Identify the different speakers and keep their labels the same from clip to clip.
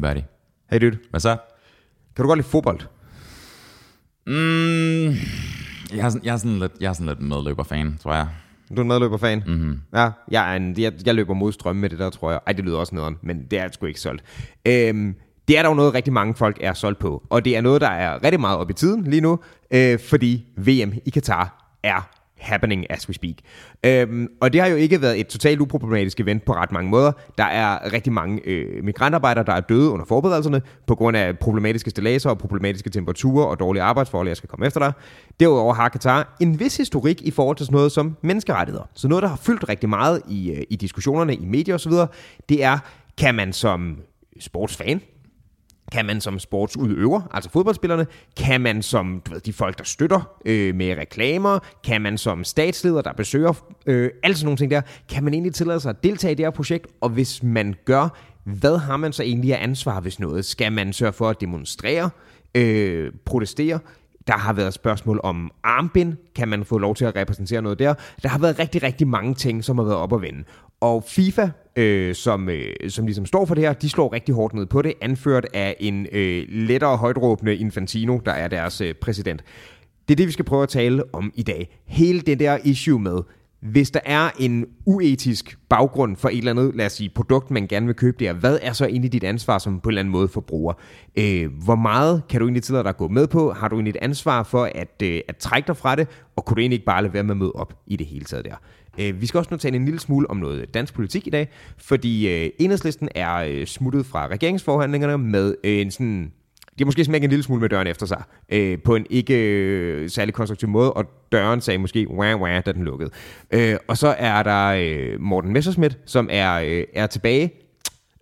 Speaker 1: buddy.
Speaker 2: Hey dude,
Speaker 1: Hvad så?
Speaker 2: kan du godt lide fodbold?
Speaker 1: Mm, jeg, er sådan, jeg, er sådan lidt, jeg er sådan lidt medløberfan, tror jeg.
Speaker 2: Du er en medløberfan? Mm-hmm. Ja, jeg, er en, jeg, jeg løber mod strømme med det der, tror jeg. Ej, det lyder også nederen, men det er sgu ikke solgt. Øhm, det er der jo noget, rigtig mange folk er solgt på. Og det er noget, der er rigtig meget op i tiden lige nu, øh, fordi VM i Katar er happening as we speak. Øhm, og det har jo ikke været et totalt uproblematisk event på ret mange måder. Der er rigtig mange øh, migrantarbejdere, der er døde under forberedelserne på grund af problematiske stilladser og problematiske temperaturer og dårlige arbejdsforhold, jeg skal komme efter dig. Derudover har Katar en vis historik i forhold til sådan noget som menneskerettigheder. Så noget, der har fyldt rigtig meget i, øh, i diskussionerne, i medier osv., det er, kan man som sportsfan, kan man som sportsudøver, altså fodboldspillerne, kan man som du ved, de folk, der støtter øh, med reklamer, kan man som statsleder, der besøger, øh, alle sådan nogle ting der, kan man egentlig tillade sig at deltage i det her projekt, og hvis man gør, hvad har man så egentlig af ansvar, hvis noget? Skal man sørge for at demonstrere, øh, protestere? Der har været spørgsmål om armbind. Kan man få lov til at repræsentere noget der? Der har været rigtig, rigtig mange ting, som har været op at vende. Og FIFA, øh, som, øh, som ligesom står for det her, de slår rigtig hårdt ned på det, anført af en øh, lettere højtråbende Infantino, der er deres øh, præsident. Det er det, vi skal prøve at tale om i dag. Hele det der issue med, hvis der er en uetisk baggrund for et eller andet, lad os sige, produkt, man gerne vil købe der, hvad er så egentlig dit ansvar som på en eller anden måde forbruger? Øh, hvor meget kan du egentlig tillade dig at gå med på? Har du egentlig et ansvar for at, øh, at trække dig fra det? Og kunne du egentlig ikke bare lade være med at møde op i det hele taget der? Øh, vi skal også nu tale en lille smule om noget dansk politik i dag, fordi øh, enhedslisten er øh, smuttet fra regeringsforhandlingerne med øh, en sådan de har måske smækket en lille smule med døren efter sig, øh, på en ikke øh, særlig konstruktiv måde, og døren sagde måske, wah, wah, da den lukkede. Øh, og så er der øh, Morten Messerschmidt, som er, øh, er tilbage,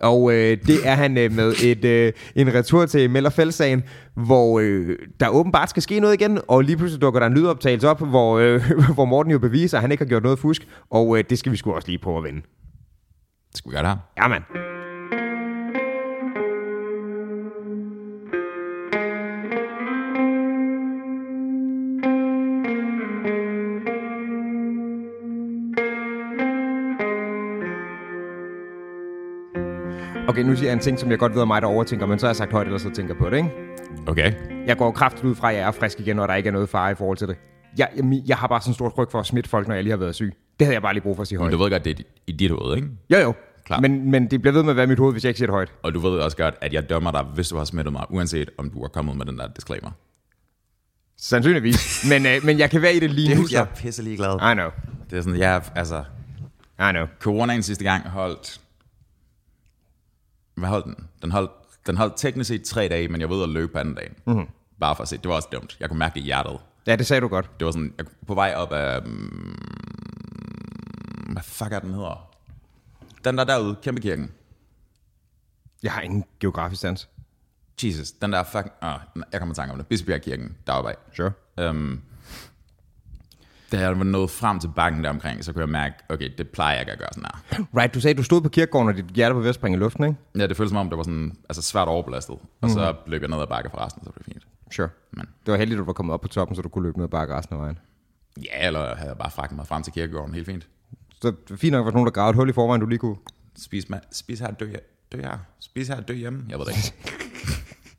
Speaker 2: og øh, det er han øh, med et, øh, en retur til Mellerfældssagen, hvor øh, der åbenbart skal ske noget igen, og lige pludselig dukker der en lydoptagelse op, hvor, øh, hvor Morten jo beviser, at han ikke har gjort noget fusk, og øh, det skal vi sgu også lige prøve at vende.
Speaker 1: Skal vi gøre det her?
Speaker 2: Ja, mand. Okay, nu siger jeg en ting, som jeg godt ved, at mig der overtænker, men så har jeg sagt højt, eller så tænker jeg på det, ikke?
Speaker 1: Okay.
Speaker 2: Jeg går kraftigt ud fra, at jeg er frisk igen, og der ikke er noget fare i forhold til det. Jeg, jeg, jeg har bare sådan en stor ryg for at smitte folk, når jeg lige har været syg. Det havde jeg bare lige brug for at sige
Speaker 1: Men
Speaker 2: højt.
Speaker 1: du ved godt, det er dit- i dit hoved, ikke?
Speaker 2: Jo, jo.
Speaker 1: Klar.
Speaker 2: Men, men det bliver ved med at være i mit hoved, hvis jeg ikke siger det højt.
Speaker 1: Og du ved også godt, at jeg dømmer dig, hvis du har smittet mig, uanset om du har kommet med den der disclaimer.
Speaker 2: Sandsynligvis. men, øh, men jeg kan være i det lige nu. Så.
Speaker 1: pisse ligeglad.
Speaker 2: I know.
Speaker 1: Ah. Det er sådan, jeg er- altså...
Speaker 2: I know.
Speaker 1: Coronaen sidste gang holdt... Hvad holdt den? Den holdt, den holdt teknisk set tre dage, men jeg var ude at løbe på anden dag. Mm-hmm. Bare for at se. Det var også dumt. Jeg kunne mærke det i hjertet.
Speaker 2: Ja, det sagde du godt.
Speaker 1: Det var sådan, jeg på vej op af... mm, Hvad fuck er den hedder? Den der derude, kæmpe kirken.
Speaker 2: Jeg har ingen geografisk sans.
Speaker 1: Jesus, den der fucking... Ah, jeg kommer i tanke om det. Bispebjerg kirken, deroppe af.
Speaker 2: Sure.
Speaker 1: Øhm, da jeg var nået frem til bakken deromkring, så kunne jeg mærke, okay, det plejer jeg ikke at gøre sådan her.
Speaker 2: Right, du sagde, du stod på kirkegården, og dit hjerte var ved at springe i luften, ikke?
Speaker 1: Ja, det føltes som om, det var sådan, altså svært overbelastet. Og så løb jeg ned ad bakke for resten, så blev det fint.
Speaker 2: Sure. Men. Det var heldigt, at du var kommet op på toppen, så du kunne løbe ned bare resten af vejen.
Speaker 1: Ja, eller havde jeg bare fragtet mig frem til kirkegården, helt fint.
Speaker 2: Så det er fint nok, hvis nogen, der gravede et hul i forvejen, du lige kunne
Speaker 1: Spis, ma- spis her, dø, he- dø her. Spis her, dø hjemme. Jeg ved det ikke.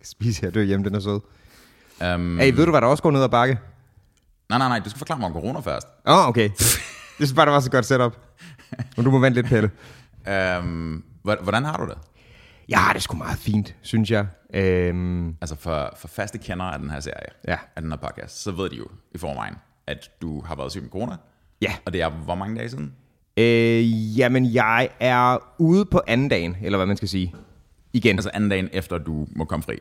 Speaker 2: spise her, dø hjemme, den er sød.
Speaker 1: um,
Speaker 2: Hey, ved du, hvad der også går ned ad bakke?
Speaker 1: nej, nej, nej, du skal forklare mig om corona først.
Speaker 2: Åh, oh, okay. Jeg synes bare, det var så godt setup. Men du må vente lidt, Pelle.
Speaker 1: Um, hvordan har du det?
Speaker 2: Ja, det er sgu meget fint, synes jeg. Øhm,
Speaker 1: Altså for, for faste kendere af den her serie,
Speaker 2: Ja.
Speaker 1: af den her podcast, så ved de jo i forvejen, at du har været syg med corona.
Speaker 2: ja.
Speaker 1: Og det er hvor mange dage siden?
Speaker 2: Øh, jamen, jeg er ude på anden dagen, eller hvad man skal sige. Igen.
Speaker 1: Altså anden dagen efter, du må komme fri.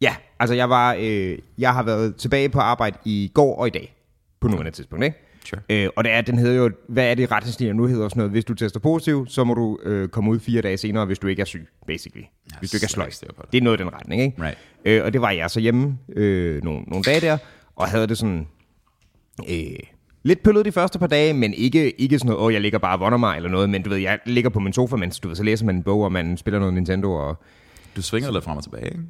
Speaker 2: Ja, altså jeg var, øh, jeg har været tilbage på arbejde i går og i dag, på nuværende tidspunkt, ikke?
Speaker 1: Sure.
Speaker 2: Øh, og det er, den hedder jo, hvad er det retningslinjer nu hedder sådan noget, hvis du tester positiv, så må du øh, komme ud fire dage senere, hvis du ikke er syg, basically. hvis du ikke er
Speaker 1: slet ikke
Speaker 2: sløj.
Speaker 1: styr på det.
Speaker 2: Det er noget i den retning, ikke?
Speaker 1: Right.
Speaker 2: Øh, og det var jeg så hjemme øh, nogle, nogle dage der, og havde det sådan, øh, lidt pøllet de første par dage, men ikke, ikke sådan noget, åh, jeg ligger bare og vonder mig eller noget, men du ved, jeg ligger på min sofa, mens du ved, så læser man en bog, og man spiller noget Nintendo, og
Speaker 1: Du svingede lidt frem og tilbage, ikke?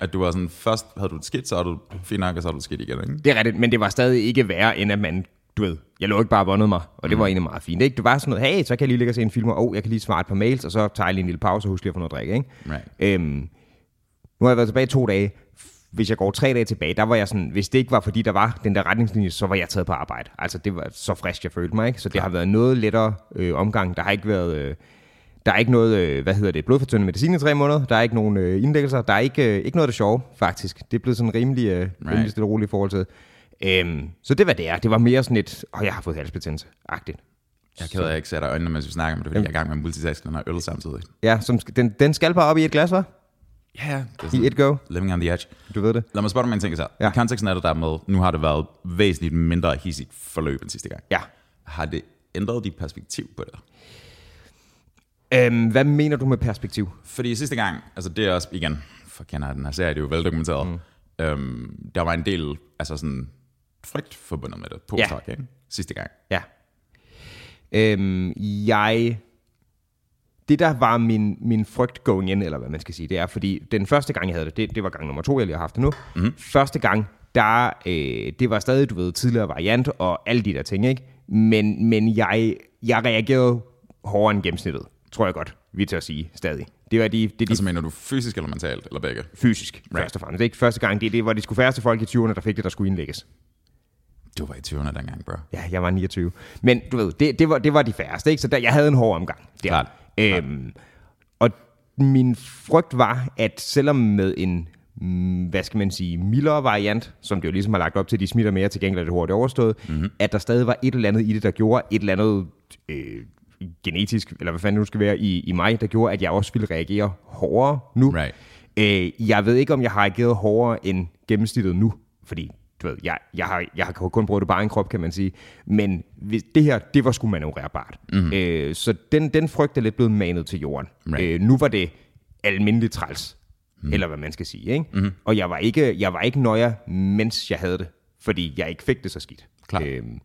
Speaker 1: At du var sådan, først havde du det skidt, så havde du fint nok, og så havde du det skidt igen, ikke?
Speaker 2: Det er rigtigt, men det var stadig ikke værre, end at man, du ved, jeg lå ikke bare vundet mig, og det mm. var egentlig meget fint. Ikke? Det var sådan noget, hey, så kan jeg lige ligge og se en film, og oh, jeg kan lige svare et par mails, og så tager jeg lige en lille pause og husker lige at få noget at drikke. Ikke?
Speaker 1: Right.
Speaker 2: Øhm, Nu har jeg været tilbage i to dage. Hvis jeg går tre dage tilbage, der var jeg sådan, hvis det ikke var fordi, der var den der retningslinje, så var jeg taget på arbejde. Altså det var så frisk, jeg følte mig, ikke? Så det har været noget lettere øh, omgang. Der har ikke været... Øh, der er ikke noget, øh, hvad hedder det, blodfortyndende medicin i tre måneder. Der er ikke nogen øh, indlæggelser. Der er ikke, øh, ikke noget af det sjove, faktisk. Det er blevet sådan rimelig, øh, rimelig stille og roligt i forhold til. Øhm, så det var det er. Det var mere sådan et, åh, jeg har fået halsbetændelse-agtigt.
Speaker 1: Jeg er ked af, at jeg ikke ser dig i øjnene, mens vi snakker om det, fordi jeg er i gang med multitasking og øl samtidig.
Speaker 2: Ja, som, sk- den, den skal bare op i et glas, var?
Speaker 1: Ja, ja. Det er
Speaker 2: I
Speaker 1: sådan,
Speaker 2: et go.
Speaker 1: living on the edge.
Speaker 2: Du ved det.
Speaker 1: Lad mig spørge dig om en ting, så.
Speaker 2: Ja.
Speaker 1: Ja. I konteksten af det der med, nu har det været væsentligt mindre hissigt forløb end sidste gang.
Speaker 2: Ja.
Speaker 1: Har det ændret dit perspektiv på det?
Speaker 2: Øhm, hvad mener du med perspektiv?
Speaker 1: Fordi sidste gang, altså det er også, igen, for kender den her serie, det er jo veldokumenteret, mm. øhm, der var en del, altså sådan, frygt forbundet med det, på
Speaker 2: Ja.
Speaker 1: ja. ikke? Sidste gang.
Speaker 2: Ja. Øhm, jeg... Det, der var min, min frygt going in, eller hvad man skal sige, det er, fordi den første gang, jeg havde det, det, det var gang nummer to, jeg lige har haft det nu. Mm-hmm. Første gang, der, øh, det var stadig, du ved, tidligere variant og alle de der ting, ikke? Men, men jeg, jeg reagerede hårdere end gennemsnittet, tror jeg godt, vi er til at sige stadig. Det var de, det, er de
Speaker 1: Altså mener du fysisk eller mentalt, eller begge?
Speaker 2: fysisk, right. først og fremmest. Det er ikke første gang, det er det, hvor de skulle færreste folk i 20'erne, der fik det, der skulle indlægges.
Speaker 1: Du var i 20'erne dengang, bro.
Speaker 2: Ja, jeg var 29. Men du ved, det, det, var, det var de færreste, ikke? Så der, jeg havde en hård omgang. Der.
Speaker 1: Klart.
Speaker 2: Øhm, og min frygt var, at selvom med en, mm, hvad skal man sige, mildere variant, som det jo ligesom har lagt op til, de smitter mere, til gengæld er det hurtigt overstået,
Speaker 1: Mhm.
Speaker 2: mm-hmm. at der stadig var et eller andet i det, der gjorde et eller andet øh, genetisk, eller hvad fanden det nu skal være, i, i mig, der gjorde, at jeg også ville reagere hårdere nu.
Speaker 1: Right.
Speaker 2: Øh, jeg ved ikke, om jeg har reageret hårdere end gennemsnittet nu, fordi du ved, jeg, jeg, har, jeg har kun brugt det bare en krop, kan man sige. Men hvis, det her, det var sgu manøvrerbart.
Speaker 1: Mhm.
Speaker 2: Mm. Øh, så den, den frygt er lidt blevet manet til jorden.
Speaker 1: Right. Mhm.
Speaker 2: Øh, nu var det almindelig træls, mm. eller hvad man skal sige. Ikke? Mm. Og jeg var ikke, jeg var ikke nøjer, mens jeg havde det, fordi jeg ikke fik det så skidt.
Speaker 1: Klart.
Speaker 2: Øhm,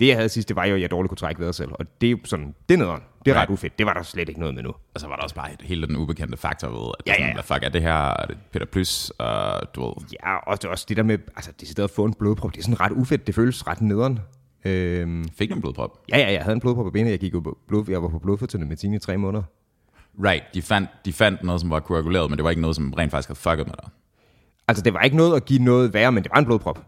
Speaker 2: det, jeg havde sidst, det var jo, at jeg dårligt kunne trække vejret selv. Og det er jo sådan, det er nederen. Det er ret
Speaker 1: Right.
Speaker 2: ufedt. Det var der slet ikke noget med nu.
Speaker 1: Og så var der også bare et- hele den ubekendte faktor ved, at
Speaker 2: Ja,
Speaker 1: ja, ja,
Speaker 2: ja, ja.
Speaker 1: Sådan, hvad fuck er det her, er det Peter Plys, og du ved,
Speaker 2: Ja, og det er også det der med, altså decideret at få en blodprop, det er sådan ret ufedt, det føles ret nederen. Øhm,
Speaker 1: fik du en blodprop?
Speaker 2: ja, ja, jeg havde en blodprop på benet, jeg, gik jo på blod, jeg var på blodfortyndende medicin i tre måneder.
Speaker 1: Right, de fandt, de fandt noget, som var koaguleret, men det var ikke noget, som rent faktisk havde fucket med dig.
Speaker 2: Altså, det var ikke noget at give noget værre, men det var en blodprop.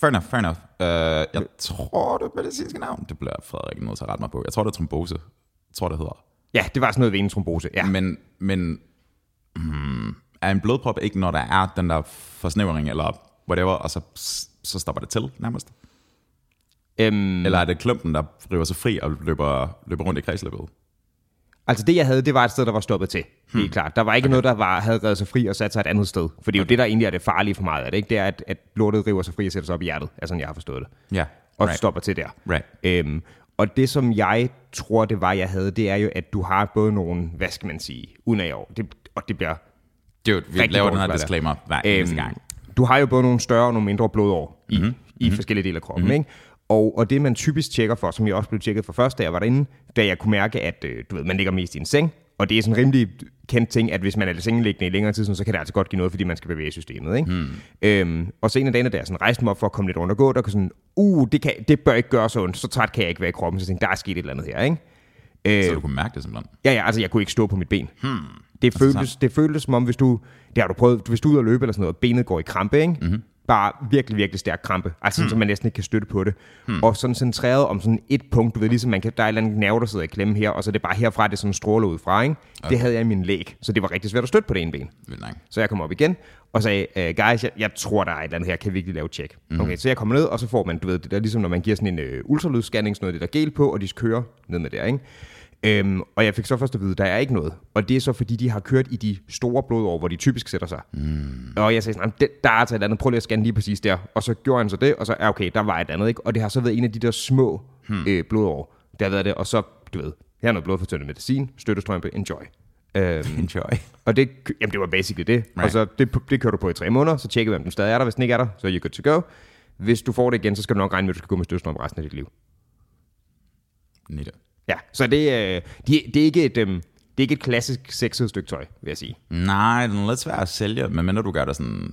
Speaker 1: Fair enough, fair enough. Uh,
Speaker 2: Øh.
Speaker 1: jeg tror, det medicinske navn, det bliver Frederik nødt til at rette mig på. Jeg tror, det er trombose. Jeg tror, det hedder.
Speaker 2: Ja, det var sådan noget ved en trombose. Ja.
Speaker 1: Men, men hmm, er en blodprop ikke, når der er den der forsnævring eller whatever, og så, så stopper det til nærmest?
Speaker 2: Øhm,
Speaker 1: Eller er det klumpen, der river sig fri og løber, løber rundt i kredsløbet?
Speaker 2: altså, det jeg havde, det var et sted, der var stoppet til. Helt klart. Der var ikke Hmm. okay. noget, der var, havde reddet sig fri og sat sig et andet sted. For det er jo det, der egentlig er det farlige for meget af det, ikke? Det er, at, at lortet river sig fri og sætter sig op i hjertet, er sådan, jeg har forstået det.
Speaker 1: Ja,
Speaker 2: og right.
Speaker 1: right.
Speaker 2: stopper til der.
Speaker 1: Right.
Speaker 2: Øhm, og det, som jeg tror, det var, jeg havde, det er jo, at du har både nogle, hvad skal man sige, unav, det, og det bliver
Speaker 1: Dude, vi
Speaker 2: rigtig
Speaker 1: laver
Speaker 2: Øhm,
Speaker 1: den
Speaker 2: dårligt,
Speaker 1: her
Speaker 2: hvad der er.
Speaker 1: disclaimer hver eneste gang. Mhm.
Speaker 2: Du har jo både nogle større og nogle mindre blodår i, mm-hmm. i forskellige dele af kroppen, mm-hmm. ikke? Og, og det, man typisk tjekker for, som jeg også blev tjekket for først, da jeg var derinde, da jeg kunne mærke, at øh, du ved, man ligger mest i en seng, og det er sådan en rimelig kendt ting, at hvis man er sengeliggende i længere tid, sådan, så kan det altså godt give noget, fordi man skal bevæge systemet. Ikke?
Speaker 1: Mhm.
Speaker 2: Mm. Øhm, og så en af dagene, da jeg sådan rejste mig op for at komme lidt rundt og gå, der kunne sådan, uh, det, kan, det bør ikke gøre så ondt, så træt kan jeg ikke være i kroppen, så jeg tænkte, der er sket et eller andet her. Ikke?
Speaker 1: Så
Speaker 2: øhm.
Speaker 1: du kunne mærke det simpelthen.
Speaker 2: Ja, ja, altså jeg kunne ikke stå på mit ben. Hmm. Det, føltes, det føltes som om, hvis du, det har du prøvet, hvis du er ude at løbe eller sådan noget, og benet går i krampe, ikke? Mm-hmm. bare virkelig, virkelig stærk krampe, altså hmm. så man næsten ikke kan støtte på det, hmm. og sådan centreret om sådan et punkt, du ved, ligesom man kan, der er et eller andet nerve, der sidder i klemme her, og så er det bare herfra, det sådan stråler ud fra, ikke? Okay. det havde jeg i min læg, så det var rigtig svært at støtte på det ene ben.
Speaker 1: Vildt nok.
Speaker 2: Så jeg kom op igen og sagde, øh, guys, jeg, jeg tror, der er et eller andet her, kan vi ikke lige lave et tjek? Mm-hmm. Okay, så jeg kommer ned, og så får man, du ved, det der, ligesom når man giver sådan en øh, ultralydsscanning, sådan noget, det der gel på, og de kører ned med det, ikke? Øhm, og jeg fik så først at vide, der er ikke noget. Og det er så, fordi de har kørt i de store blodår, hvor de typisk sætter sig. Mm. Og jeg sagde sådan, "Jamen, det, der er altså et eller andet, prøv lige at scanne lige præcis der. Og så gjorde han så det, og så, ja, okay, der var et eller andet, ikke? Og det har så været en af de der små hmm. øh, blodår, der har været det. Og så, du ved, her er noget blodfortyndende medicin, støttestrømpe, enjoy. Øhm,
Speaker 1: Enjoy.
Speaker 2: og det, jamen det var basically det. Right. Og
Speaker 1: Right.
Speaker 2: så det, det kører du på i tre måneder, så tjekker vi, om den stadig er der. Hvis den ikke er der, så er you good to go. Hvis du får det igen, så skal du nok regne med, at du skal gå med støvstrøm resten af dit liv.
Speaker 1: Nitte.
Speaker 2: Ja, så det, øh, de, det, er, ikke et, øhm, det er ikke et klassisk sexet stykke tøj, vil jeg sige.
Speaker 1: Nej, den er lidt svær at sælge, medmindre du gør det sådan...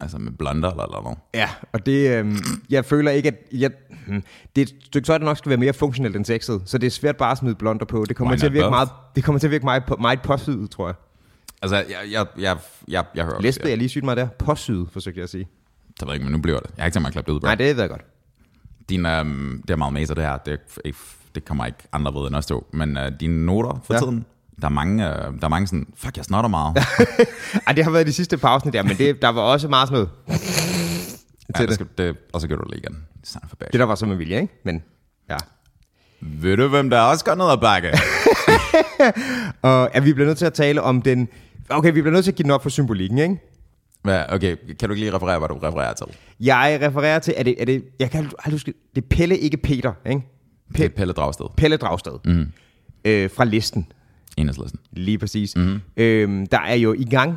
Speaker 1: Altså med blonder eller, eller noget.
Speaker 2: Ja, og det, øhm, jeg føler ikke, at... Jeg, hmm, det er et stykke tøj, der nok skal være mere funktionelt end sexet, så det er svært bare at smide blonder på. Det kommer,
Speaker 1: Why
Speaker 2: til at
Speaker 1: not
Speaker 2: virke
Speaker 1: both?
Speaker 2: meget, det kommer til at virke meget, meget påsyet, tror jeg.
Speaker 1: Altså, jeg, jeg, jeg, jeg, jeg hører...
Speaker 2: Læste jeg lige sygt mig der? Påsyet, forsøgte jeg at sige.
Speaker 1: Det ved jeg ikke, men nu bliver det. Jeg har ikke tænkt mig at klappe det ud, bro.
Speaker 2: Nej, det ved jeg godt.
Speaker 1: Din, øhm, det er meget mæser, det her. Det, er ikke- det kommer ikke andre ved end os to. Men øh, dine noter for
Speaker 2: Ja.
Speaker 1: ja. tiden, der er, mange, øh, der er mange sådan, fuck, jeg snotter meget.
Speaker 2: Ej, det har været de sidste pausen der, men det, der var også meget sådan noget.
Speaker 1: ja, det skal, det, og så gør du det igen. Son for
Speaker 2: Det der var som en vilje, ikke? Men ja.
Speaker 1: Ved du, hvem der også gør noget at bakke?
Speaker 2: Og at vi bliver nødt til at tale om den... Okay, vi bliver nødt til at give den op for symbolikken, ikke?
Speaker 1: Hvad, okay, kan du ikke lige referere, hvad du refererer til?
Speaker 2: Jeg refererer til, er det, er det, jeg kan aldrig huske, det er Pelle, ikke Peter, ikke?
Speaker 1: Det er Pelle Dragsted,
Speaker 2: Pelle Dragsted. Mm. Øh, fra listen,
Speaker 1: enhedslisten.
Speaker 2: lige præcis. Mm. Øhm, der er jo i gang,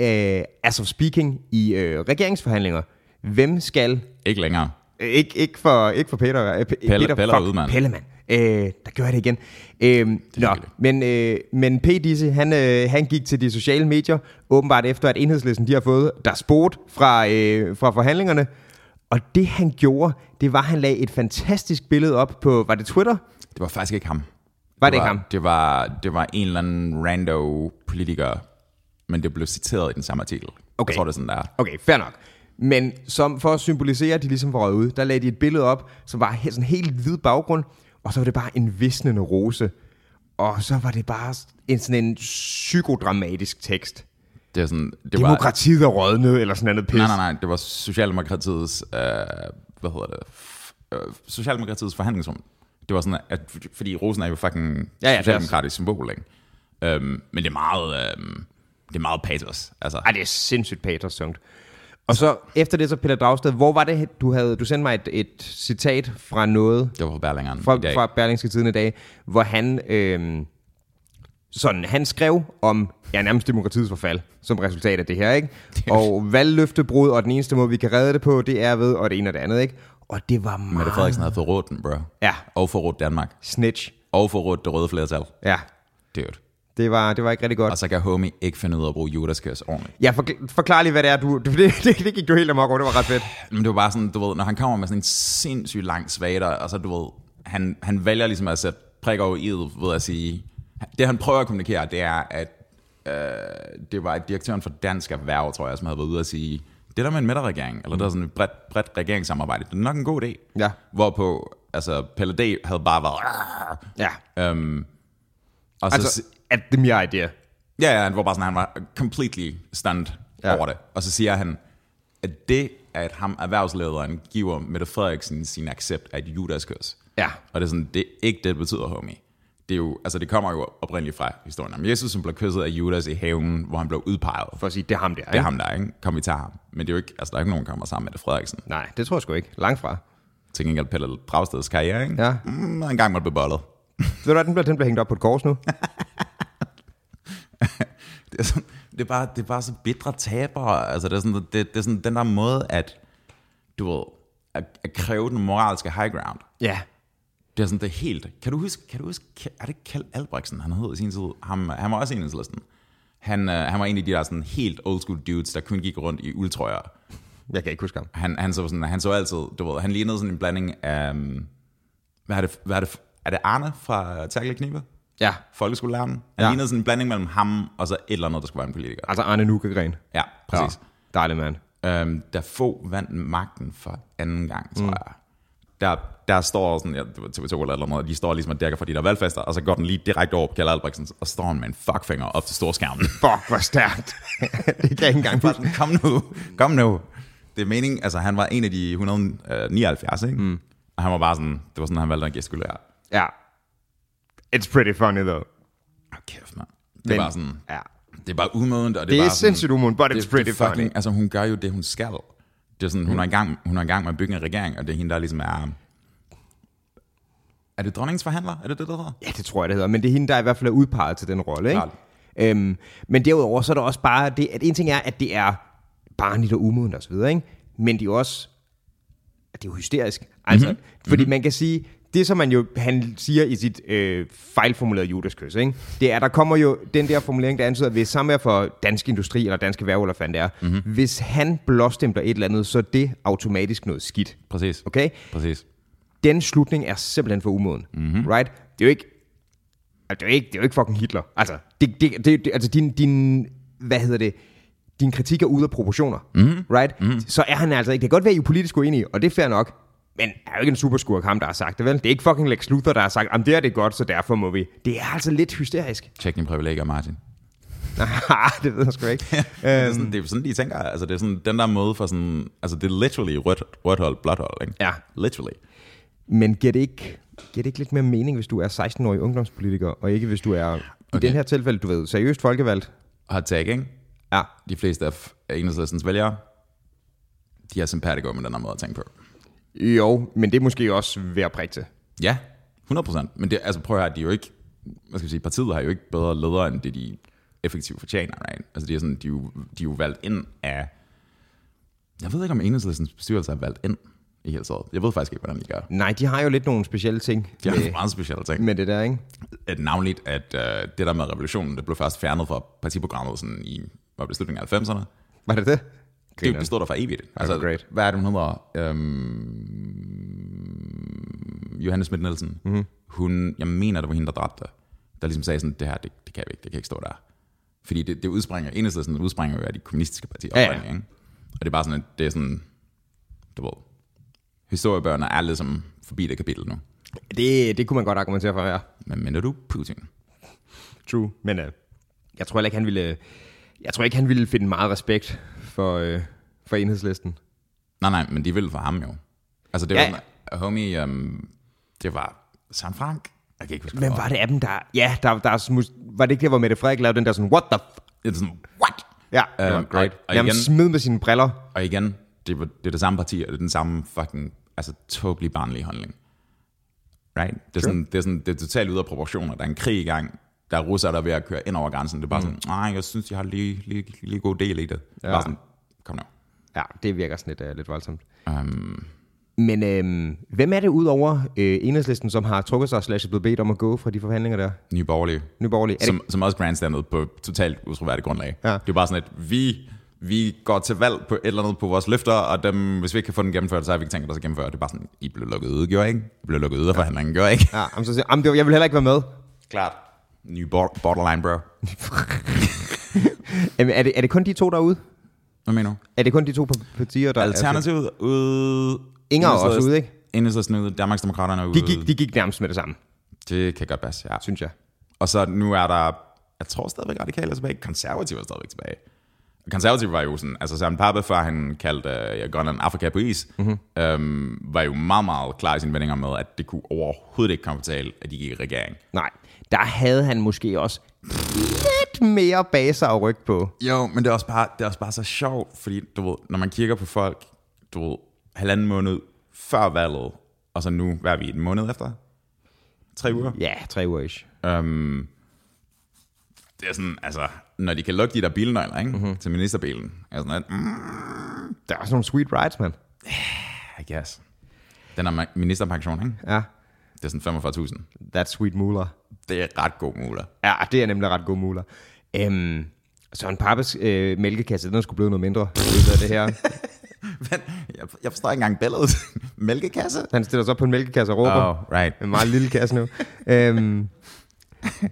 Speaker 2: øh, as of speaking, i øh, regeringsforhandlinger. Hvem skal...
Speaker 1: Ikke længere.
Speaker 2: Øh, ikke, ikke, for, ikke for Peter. Øh, P-
Speaker 1: Pelle-
Speaker 2: Peter
Speaker 1: Pelle er ude, mand.
Speaker 2: Pelle, mand. Øh, der gør jeg det igen. Øh, nå,
Speaker 1: hyggeligt.
Speaker 2: men, øh, men P. Disse, han, øh, han gik til de sociale medier, åbenbart efter, at enhedslisten de har fået der spot fra, øh, fra forhandlingerne. Og det han gjorde, det var, at han lagde et fantastisk billede op på, var det Twitter?
Speaker 1: Det var faktisk ikke ham.
Speaker 2: Var det ikke ham?
Speaker 1: Det var, det var en eller anden rando politiker, men det blev citeret i den samme artikel.
Speaker 2: Okay.
Speaker 1: Jeg tror, det er sådan, der er.
Speaker 2: Okay, fair nok. Men som for at symbolisere, at de ligesom var røget ud, der lagde de et billede op, som var he- sådan helt hvid baggrund, og så var det bare en visnende rose. Og så var det bare en sådan en psykodramatisk tekst.
Speaker 1: Det er sådan, det var,
Speaker 2: Demokratiet er rødnet, eller sådan noget pis.
Speaker 1: nej, nej, nej, det var Socialdemokratiets, øh, hvad hedder det, F- øh, Socialdemokratiets forhandlingsrum. Det var sådan, at, fordi rosen er jo fucking
Speaker 2: Ja, ja, det er-
Speaker 1: socialdemokratisk symbol, ikke? Øhm, men det er meget, øhm, det er meget patos. Altså,
Speaker 2: Ej, det er sindssygt patersungt. Og så efter det, så Peter Dragsted, hvor var det, du havde, du sendte mig et, et citat fra noget,
Speaker 1: det var på Berlingeren
Speaker 2: fra,
Speaker 1: i dag.
Speaker 2: fra Berlingske Tiden i dag, hvor han, øh, sådan, han skrev om ja, nærmest demokratiets forfald som resultat af det her, ikke? Og valgløftebrud, og den eneste måde, vi kan redde det på, det er ved, og det ene og det andet, ikke? Og det var
Speaker 1: Mette
Speaker 2: meget
Speaker 1: Frederiksen havde forrådt den, bro.
Speaker 2: Ja.
Speaker 1: Og forrådt Danmark.
Speaker 2: snitch.
Speaker 1: Og forrådt det røde flertal.
Speaker 2: Ja,
Speaker 1: Dude.
Speaker 2: det var, det var ikke rigtig godt.
Speaker 1: Og så kan homie ikke finde ud af at bruge Judas ordentligt.
Speaker 2: Ja, forkl- forklar lige, hvad det er, du... Det, det, det gik du helt amok over, det var ret fedt.
Speaker 1: Men det var bare sådan, du ved, når han kommer med sådan en sindssygt lang svater, og så du ved, han, han vælger ligesom at sætte prikker over i ved at sige, det han prøver at kommunikere, det er, at øh, det var direktøren for Dansk Erhverv, tror jeg, som havde været ude og sige, det der med en midterregering, eller der er sådan et bredt, bredt regeringssamarbejde, det er nok en god idé.
Speaker 2: Ja.
Speaker 1: Hvorpå, altså, Pelle D. havde bare været, "Argh!"
Speaker 2: Ja,
Speaker 1: og så,
Speaker 2: altså, at det er mere idea.
Speaker 1: Ja, ja, han var bare sådan, han var completely stunned
Speaker 2: Ja.
Speaker 1: ja. over det. Og så siger han, at det, at ham erhvervslederen giver Mette Frederiksen sin accept af et judaskørs.
Speaker 2: Ja.
Speaker 1: Og det er sådan, det er ikke det, det betyder, homie. Det, er jo, altså det kommer jo oprindeligt fra historien om Jesus, som blev kysset af Judas i haven, hvor han blev udpeget.
Speaker 2: For at sige, det er ham der,
Speaker 1: Det er ham der, ikke? Kom, vi tager ham. Men det er jo ikke, altså der er ikke nogen, der kommer sammen med Mette Frederiksen.
Speaker 2: Nej, det tror jeg sgu ikke. Langt fra.
Speaker 1: Til gengæld Pelle Dragsteds karriere, ikke?
Speaker 2: Ja.
Speaker 1: Mm, en gang måtte blive bollet.
Speaker 2: Ved du hvad, den bliver, den bliver hængt op på et kors nu.
Speaker 1: det er, sådan, det er, bare, det er bare så bitre tabere. Altså, det, er sådan, det, det er sådan den der måde, at du ved, at, at kræve den moralske high ground.
Speaker 2: ja.
Speaker 1: Det er sådan, det er helt... Kan du huske, kan du huske Ke- er det Kjeld Albrechtsen, han hed i sin tid? Ham, han var også en af listen. Han, øh, han var en af de der sådan helt old school dudes, der kun gik rundt i uldtrøjer.
Speaker 2: Jeg kan ikke huske ham.
Speaker 1: Han, han, så sådan, han så altid, du ved, han lignede sådan en blanding af... øhm, Hvad er det, hvad er det, er det Arne fra Tackle Knibe?
Speaker 2: Ja.
Speaker 1: Folkeskolelæreren? Han
Speaker 2: Ja.
Speaker 1: ja. lignede sådan en blanding mellem ham og så et eller andet, der skulle være en politiker.
Speaker 2: Altså Arne Nukegren.
Speaker 1: Ja, præcis. Ja.
Speaker 2: Dejlig mand.
Speaker 1: Øhm, da få vandt magten for anden gang, tror mm. jeg. Der, der står sådan, ja, det var TV2 eller noget, de står ligesom og dækker for de der valgfester, og så går den lige direkte over på Kjell Albrechtsen, og står han med en fuckfinger op til storskærmen.
Speaker 2: Fuck, hvor stærkt. det kan jeg ikke engang
Speaker 1: Bare
Speaker 2: huske.
Speaker 1: sådan, kom nu, kom nu. Det er meningen, altså han var en af de 179, ikke? Mm. Og han var bare sådan, det var sådan, han valgte at gestikulere.
Speaker 2: Ja. It's pretty funny though.
Speaker 1: Åh, kæft, mand. Det er bare sådan,
Speaker 2: Ja.
Speaker 1: det er bare umodent, og det,
Speaker 2: Det
Speaker 1: er
Speaker 2: er
Speaker 1: bare sådan,
Speaker 2: sindssygt umund, but it's
Speaker 1: det,
Speaker 2: pretty
Speaker 1: det fucking,
Speaker 2: funny.
Speaker 1: Altså, hun gør jo det, hun skal. Det er sådan, hun, er i gang, hun er i gang med at bygge en regering, og det er hende, der ligesom er... Er det dronningens forhandler? Er det det, der hedder?
Speaker 2: Ja, det tror jeg, det hedder. Men det er hende, der i hvert fald er udpeget til den rolle, ikke?
Speaker 1: Klart.
Speaker 2: Øhm, men derudover så er der også bare det, at en ting er, at det er barnligt og umodent og så videre, ikke? Men det er jo også, at det er jo hysterisk. Altså, mm-hmm. fordi man kan sige, det som man jo, han siger i sit øh, fejlformulerede judaskys, ikke? Det er, der kommer jo den der formulering, der antyder, at hvis samme er for dansk industri eller danske værv, eller hvad fanden det er, mm-hmm. hvis han blåstempler et eller andet, så er det automatisk noget skidt.
Speaker 1: Præcis.
Speaker 2: Okay?
Speaker 1: Præcis.
Speaker 2: den slutning er simpelthen for umoden. Mm-hmm. Right? Det er jo ikke... altså, Det er jo ikke, det er jo ikke fucking Hitler. Altså, det, det, det, det, altså din, din hvad hedder det, din kritik er ude af proportioner, mm. right? Mm. Så er han altså ikke, det kan godt være, at I er politisk uenige, og det er fair nok, men er jo ikke en superskurk ham, der har sagt det, vel? Det er ikke fucking Lex Luthor, der har sagt, at det er det godt, så derfor må vi. Det er altså lidt hysterisk.
Speaker 1: Tjek dine privilegier, Martin.
Speaker 2: Nej, det ved jeg sgu ikke.
Speaker 1: Det er, sådan, det er sådan, de tænker. Altså, det er sådan den der måde for sådan... Altså, det er literally rødt, rødt hold, blåt hold, ikke?
Speaker 2: Ja.
Speaker 1: Literally.
Speaker 2: Men giver det, ikke, giver det ikke lidt mere mening, hvis du er 16-årig ungdomspolitiker, og ikke hvis du er, okay. i
Speaker 1: Okay.
Speaker 2: det her tilfælde, du ved, seriøst folkevalgt?
Speaker 1: Hot tag, ikke?
Speaker 2: Ja,
Speaker 1: De fleste af enhedslistens vælgere, de er sympatikere med den her måde at tænke på.
Speaker 2: jo, men det er måske også ved at prikke til.
Speaker 1: Ja, 100%. Men det, altså prøv at høre, de er jo ikke, hvad skal jeg sige, partiet har jo ikke bedre ledere, end det de effektivt fortjener, right? Altså de er, sådan, de, er jo, de er jo valgt ind af, jeg ved ikke om enhedslæsens bestyrelse er valgt ind i hele taget. Jeg ved faktisk ikke, hvordan de gør.
Speaker 2: Nej, de har jo lidt nogle specielle ting
Speaker 1: De har
Speaker 2: med,
Speaker 1: nogle meget specielle ting.
Speaker 2: med det der, ikke?
Speaker 1: at navnligt, at øh, det der med revolutionen, det blev først fjernet fra partiprogrammet sådan i var det slutningen af 90'erne.
Speaker 2: Var det det?
Speaker 1: Det
Speaker 2: Grineren.
Speaker 1: bestod der for evigt. Altså,
Speaker 2: great.
Speaker 1: hvad er det, hun hedder? Øhm, Johanne Schmidt Nielsen.
Speaker 2: Mhm.
Speaker 1: Mm-hmm. Hun, jeg mener, det var hende, der dræbte. Der ligesom sagde sådan, det her, det, det kan vi ikke, det kan ikke stå der. Fordi det, det udspringer, enhedslisten udspringer jo af de kommunistiske partier.
Speaker 2: Ja, ja.
Speaker 1: oprindeligt, Ikke? Og det er bare sådan, at det er sådan, du ved, historiebøgerne er ligesom forbi det kapitel nu.
Speaker 2: det, det kunne man godt argumentere for, ja.
Speaker 1: Men mener du Putin?
Speaker 2: True, men øh, jeg tror heller ikke, han ville, øh, jeg tror ikke, han ville finde meget respekt for, øh, for enhedslisten.
Speaker 1: Nej, nej, men de ville for ham jo. Altså det
Speaker 2: Ja,
Speaker 1: ja. var sådan, homie, um, det var San Frank. Jeg kan ikke huske,
Speaker 2: Hvem
Speaker 1: hvad
Speaker 2: var det af dem, der... Ja, der, der er smus, var det ikke der, hvor Mette Frederik lavede den der sådan, what the f...
Speaker 1: det var sådan, what?
Speaker 2: Ja,
Speaker 1: Øh,
Speaker 2: det var great.
Speaker 1: og-
Speaker 2: Og,
Speaker 1: og
Speaker 2: Jamen,
Speaker 1: igen-
Speaker 2: smid med sine briller.
Speaker 1: Og igen, det, var, det er det samme parti, og det er den samme fucking, altså tåbelig barnlige handling. Right? Det er, sådan, det, er sådan, det er totalt ude af proportioner. Der er en krig i gang. Der er russere, der er ved at køre ind over grænsen. Det er bare mm. sådan, nej, jeg synes, jeg har lige, lige, lige god del i det. Ja. Bare sådan, kom nu.
Speaker 2: Ja, det virker sådan lidt, uh, lidt voldsomt.
Speaker 1: Um,
Speaker 2: Men øhm, hvem er det udover øh, enhedslisten, som har trukket sig slash er blevet bedt om at gå fra de forhandlinger der?
Speaker 1: Nye Borgerlige.
Speaker 2: Nyborgerlige. Er det,
Speaker 1: som, som også grandstandet på totalt utroværdigt grundlag.
Speaker 2: Ja.
Speaker 1: Ja. Det er bare sådan, at vi, vi går til valg på et eller andet på vores løfter, og dem, hvis vi ikke kan få den gennemført, så har vi ikke tænkt os at gennemføre. Det er bare sådan, I blev lukket ude, gjorde I ikke? I blev lukket ude af forhandlingen, gjorde I ikke?
Speaker 2: ja, jamen, så, siger- jamen, det var- jeg vil heller ikke være med.
Speaker 1: Klart. Ny bor- borderline, bro.
Speaker 2: Jamen, er, det, er det kun de to derude?
Speaker 1: Hvad mener du?
Speaker 2: Er det kun de to pa- partier, der...
Speaker 1: Alternativet ude...
Speaker 2: Inger er også ude, ikke?
Speaker 1: Enhedslæsen ude, Danmarksdemokraterne er ude.
Speaker 2: Altså, De gik, de gik nærmest med det samme,
Speaker 1: Det kan godt passe, ja.
Speaker 2: synes jeg.
Speaker 1: Og så nu er der, jeg tror stadigvæk radikale er tilbage, konservative er stadigvæk tilbage. Og konservative var jo sådan, altså Søren Pape, før han kaldte øh, Grønland Afrika på is, mm-hmm. øhm, var jo meget, meget klar i sine vendinger med, at det kunne overhovedet ikke komme på tale, at de gik i regering.
Speaker 2: Nej, der havde han måske også lidt mere bag sig at rykke på.
Speaker 1: Jo, men det er også bare, det er også bare så sjovt, fordi du ved, når man kigger på folk, du ved, halvanden måned før valget, og så nu, hvad er vi, en måned efter? Tre uger?
Speaker 2: Ja, tre uger ish.
Speaker 1: Øhm, det er sådan, altså, når de kan lukke de der bilnøgler, ikke?
Speaker 2: Mhm.
Speaker 1: Mm-hmm. Til ministerbilen. Er sådan, at, mm,
Speaker 2: Der er sådan nogle sweet rides, mand.
Speaker 1: I guess. Den er ma- ministerpension, ikke?
Speaker 2: Ja,
Speaker 1: Det er sådan 45.000.
Speaker 2: that's sweet muller.
Speaker 1: Det er ret god mulighed.
Speaker 2: Ja, det er nemlig ret god muler. Øhm, Søren Pappes øh, mælkekasse, den er sgu blevet noget mindre. Det er det her.
Speaker 1: Men jeg, jeg forstår ikke engang billedet. Mælkekasse?
Speaker 2: Han stiller sig op på en mælkekasse og råber.
Speaker 1: Oh, right.
Speaker 2: En meget lille kasse nu. øhm,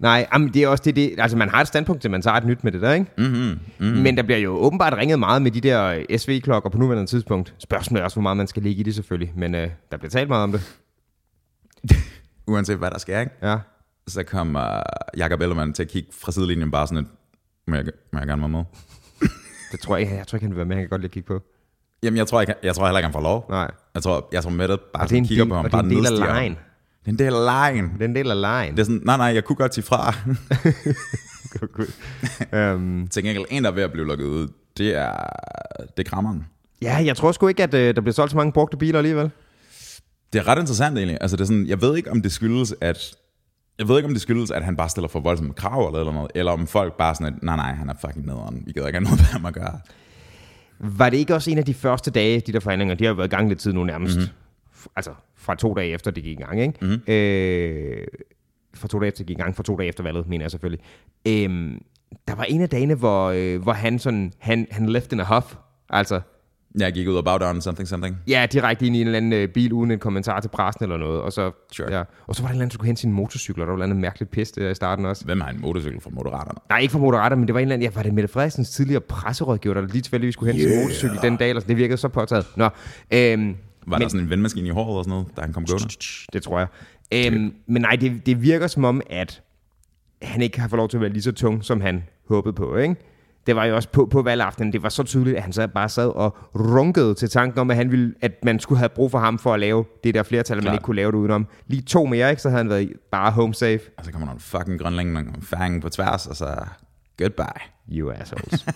Speaker 2: nej, jamen, det er også det, det, altså man har et standpunkt til, man tager et nyt med det der, ikke? Mm-hmm,
Speaker 1: Mhm,
Speaker 2: mm-hmm. Men der bliver jo åbenbart ringet meget med de der øh, SV-klokker på nuværende tidspunkt. Spørgsmålet er også, hvor meget man skal ligge i det selvfølgelig, men øh, der bliver talt meget om det.
Speaker 1: Uanset hvad der sker, ikke?
Speaker 2: Ja.
Speaker 1: Så kommer uh, Jakob Ellemann til at kigge fra sidelinjen bare sådan et, må jeg, må jeg gerne være med?
Speaker 2: Det tror jeg, ikke- jeg tror ikke, han vil være med, han kan godt lige kigge på.
Speaker 1: Jamen, jeg tror, ikke, jeg tror heller ikke, han får lov.
Speaker 2: Nej.
Speaker 1: Jeg tror, jeg tror Mette bare
Speaker 2: Og det er en
Speaker 1: sådan Altså, kigger
Speaker 2: del,
Speaker 1: på ham,
Speaker 2: og det er
Speaker 1: bare
Speaker 2: en del af
Speaker 1: nedstiger ham.
Speaker 2: lejen.
Speaker 1: Det er en del af lejen.
Speaker 2: Det er en del af lejen.
Speaker 1: Det er sådan, nej, nej, jeg kunne godt sige fra.
Speaker 2: øhm,
Speaker 1: Til gengæld, en der er ved at blive lukket ud, det er, det er krammeren.
Speaker 2: ja, jeg tror sgu ikke, at øh, der bliver solgt så mange brugte biler alligevel.
Speaker 1: Det er ret interessant egentlig. Altså, det er sådan, jeg ved ikke, om det skyldes, at... Jeg ved ikke, om det skyldes, at han bare stiller for voldsomme krav eller, eller noget, eller om folk bare sådan, at nej, nej, han er fucking nederen. Vi gider ikke have noget med ham at gøre.
Speaker 2: Var det ikke også en af de første dage, de der forhandlinger, de har jo været i gang lidt tid nu nærmest, mm-hmm. altså fra to dage efter det gik i gang, ikke? Mm-hmm. Øh, fra to dage efter det gik i gang, fra to dage efter valget, mener jeg selvfølgelig. Øhm, Øh, der var en af dagene, hvor, øh, hvor han sådan, han, han left in a huff, altså
Speaker 1: Jeg gik ud og bagdøren, something, something.
Speaker 2: Ja, direkte ind i en eller anden øh, bil uden en kommentar til pressen eller noget. Og så,
Speaker 1: Sure.
Speaker 2: ja. og så var der en eller anden, der skulle hente sine motorcykler. Der var et eller andet mærkeligt pist der i starten også.
Speaker 1: Hvem har en motorcykel fra Moderaterne?
Speaker 2: Nej, ikke fra Moderater, men det var en eller anden... Ja, var det Mette Frederiksens tidligere presserådgiver, der lige tilfældigvis skulle hente yeah. sin motorcykel den dag? Eller sådan. Det virkede så påtaget. Nå, øhm,
Speaker 1: Var men, der sådan en vandmaskine i håret og sådan noget, da han kom gående?
Speaker 2: det tror jeg. Øhm, men nej, det, det virker som om, at han ikke har fået lov til at være lige så tung, som han håbede på, ikke? Det var jo også på, på valgaftenen, det var så tydeligt, at han så bare sad og runkede til tanken om, at, han ville, at man skulle have brug for ham for at lave det der flertal, at man
Speaker 1: Klart.
Speaker 2: ikke kunne lave det udenom. Lige to mere, ikke? så havde han været bare home safe.
Speaker 1: Og så kommer der en fucking grønlæng, en fang på tværs, og så goodbye.
Speaker 2: You assholes.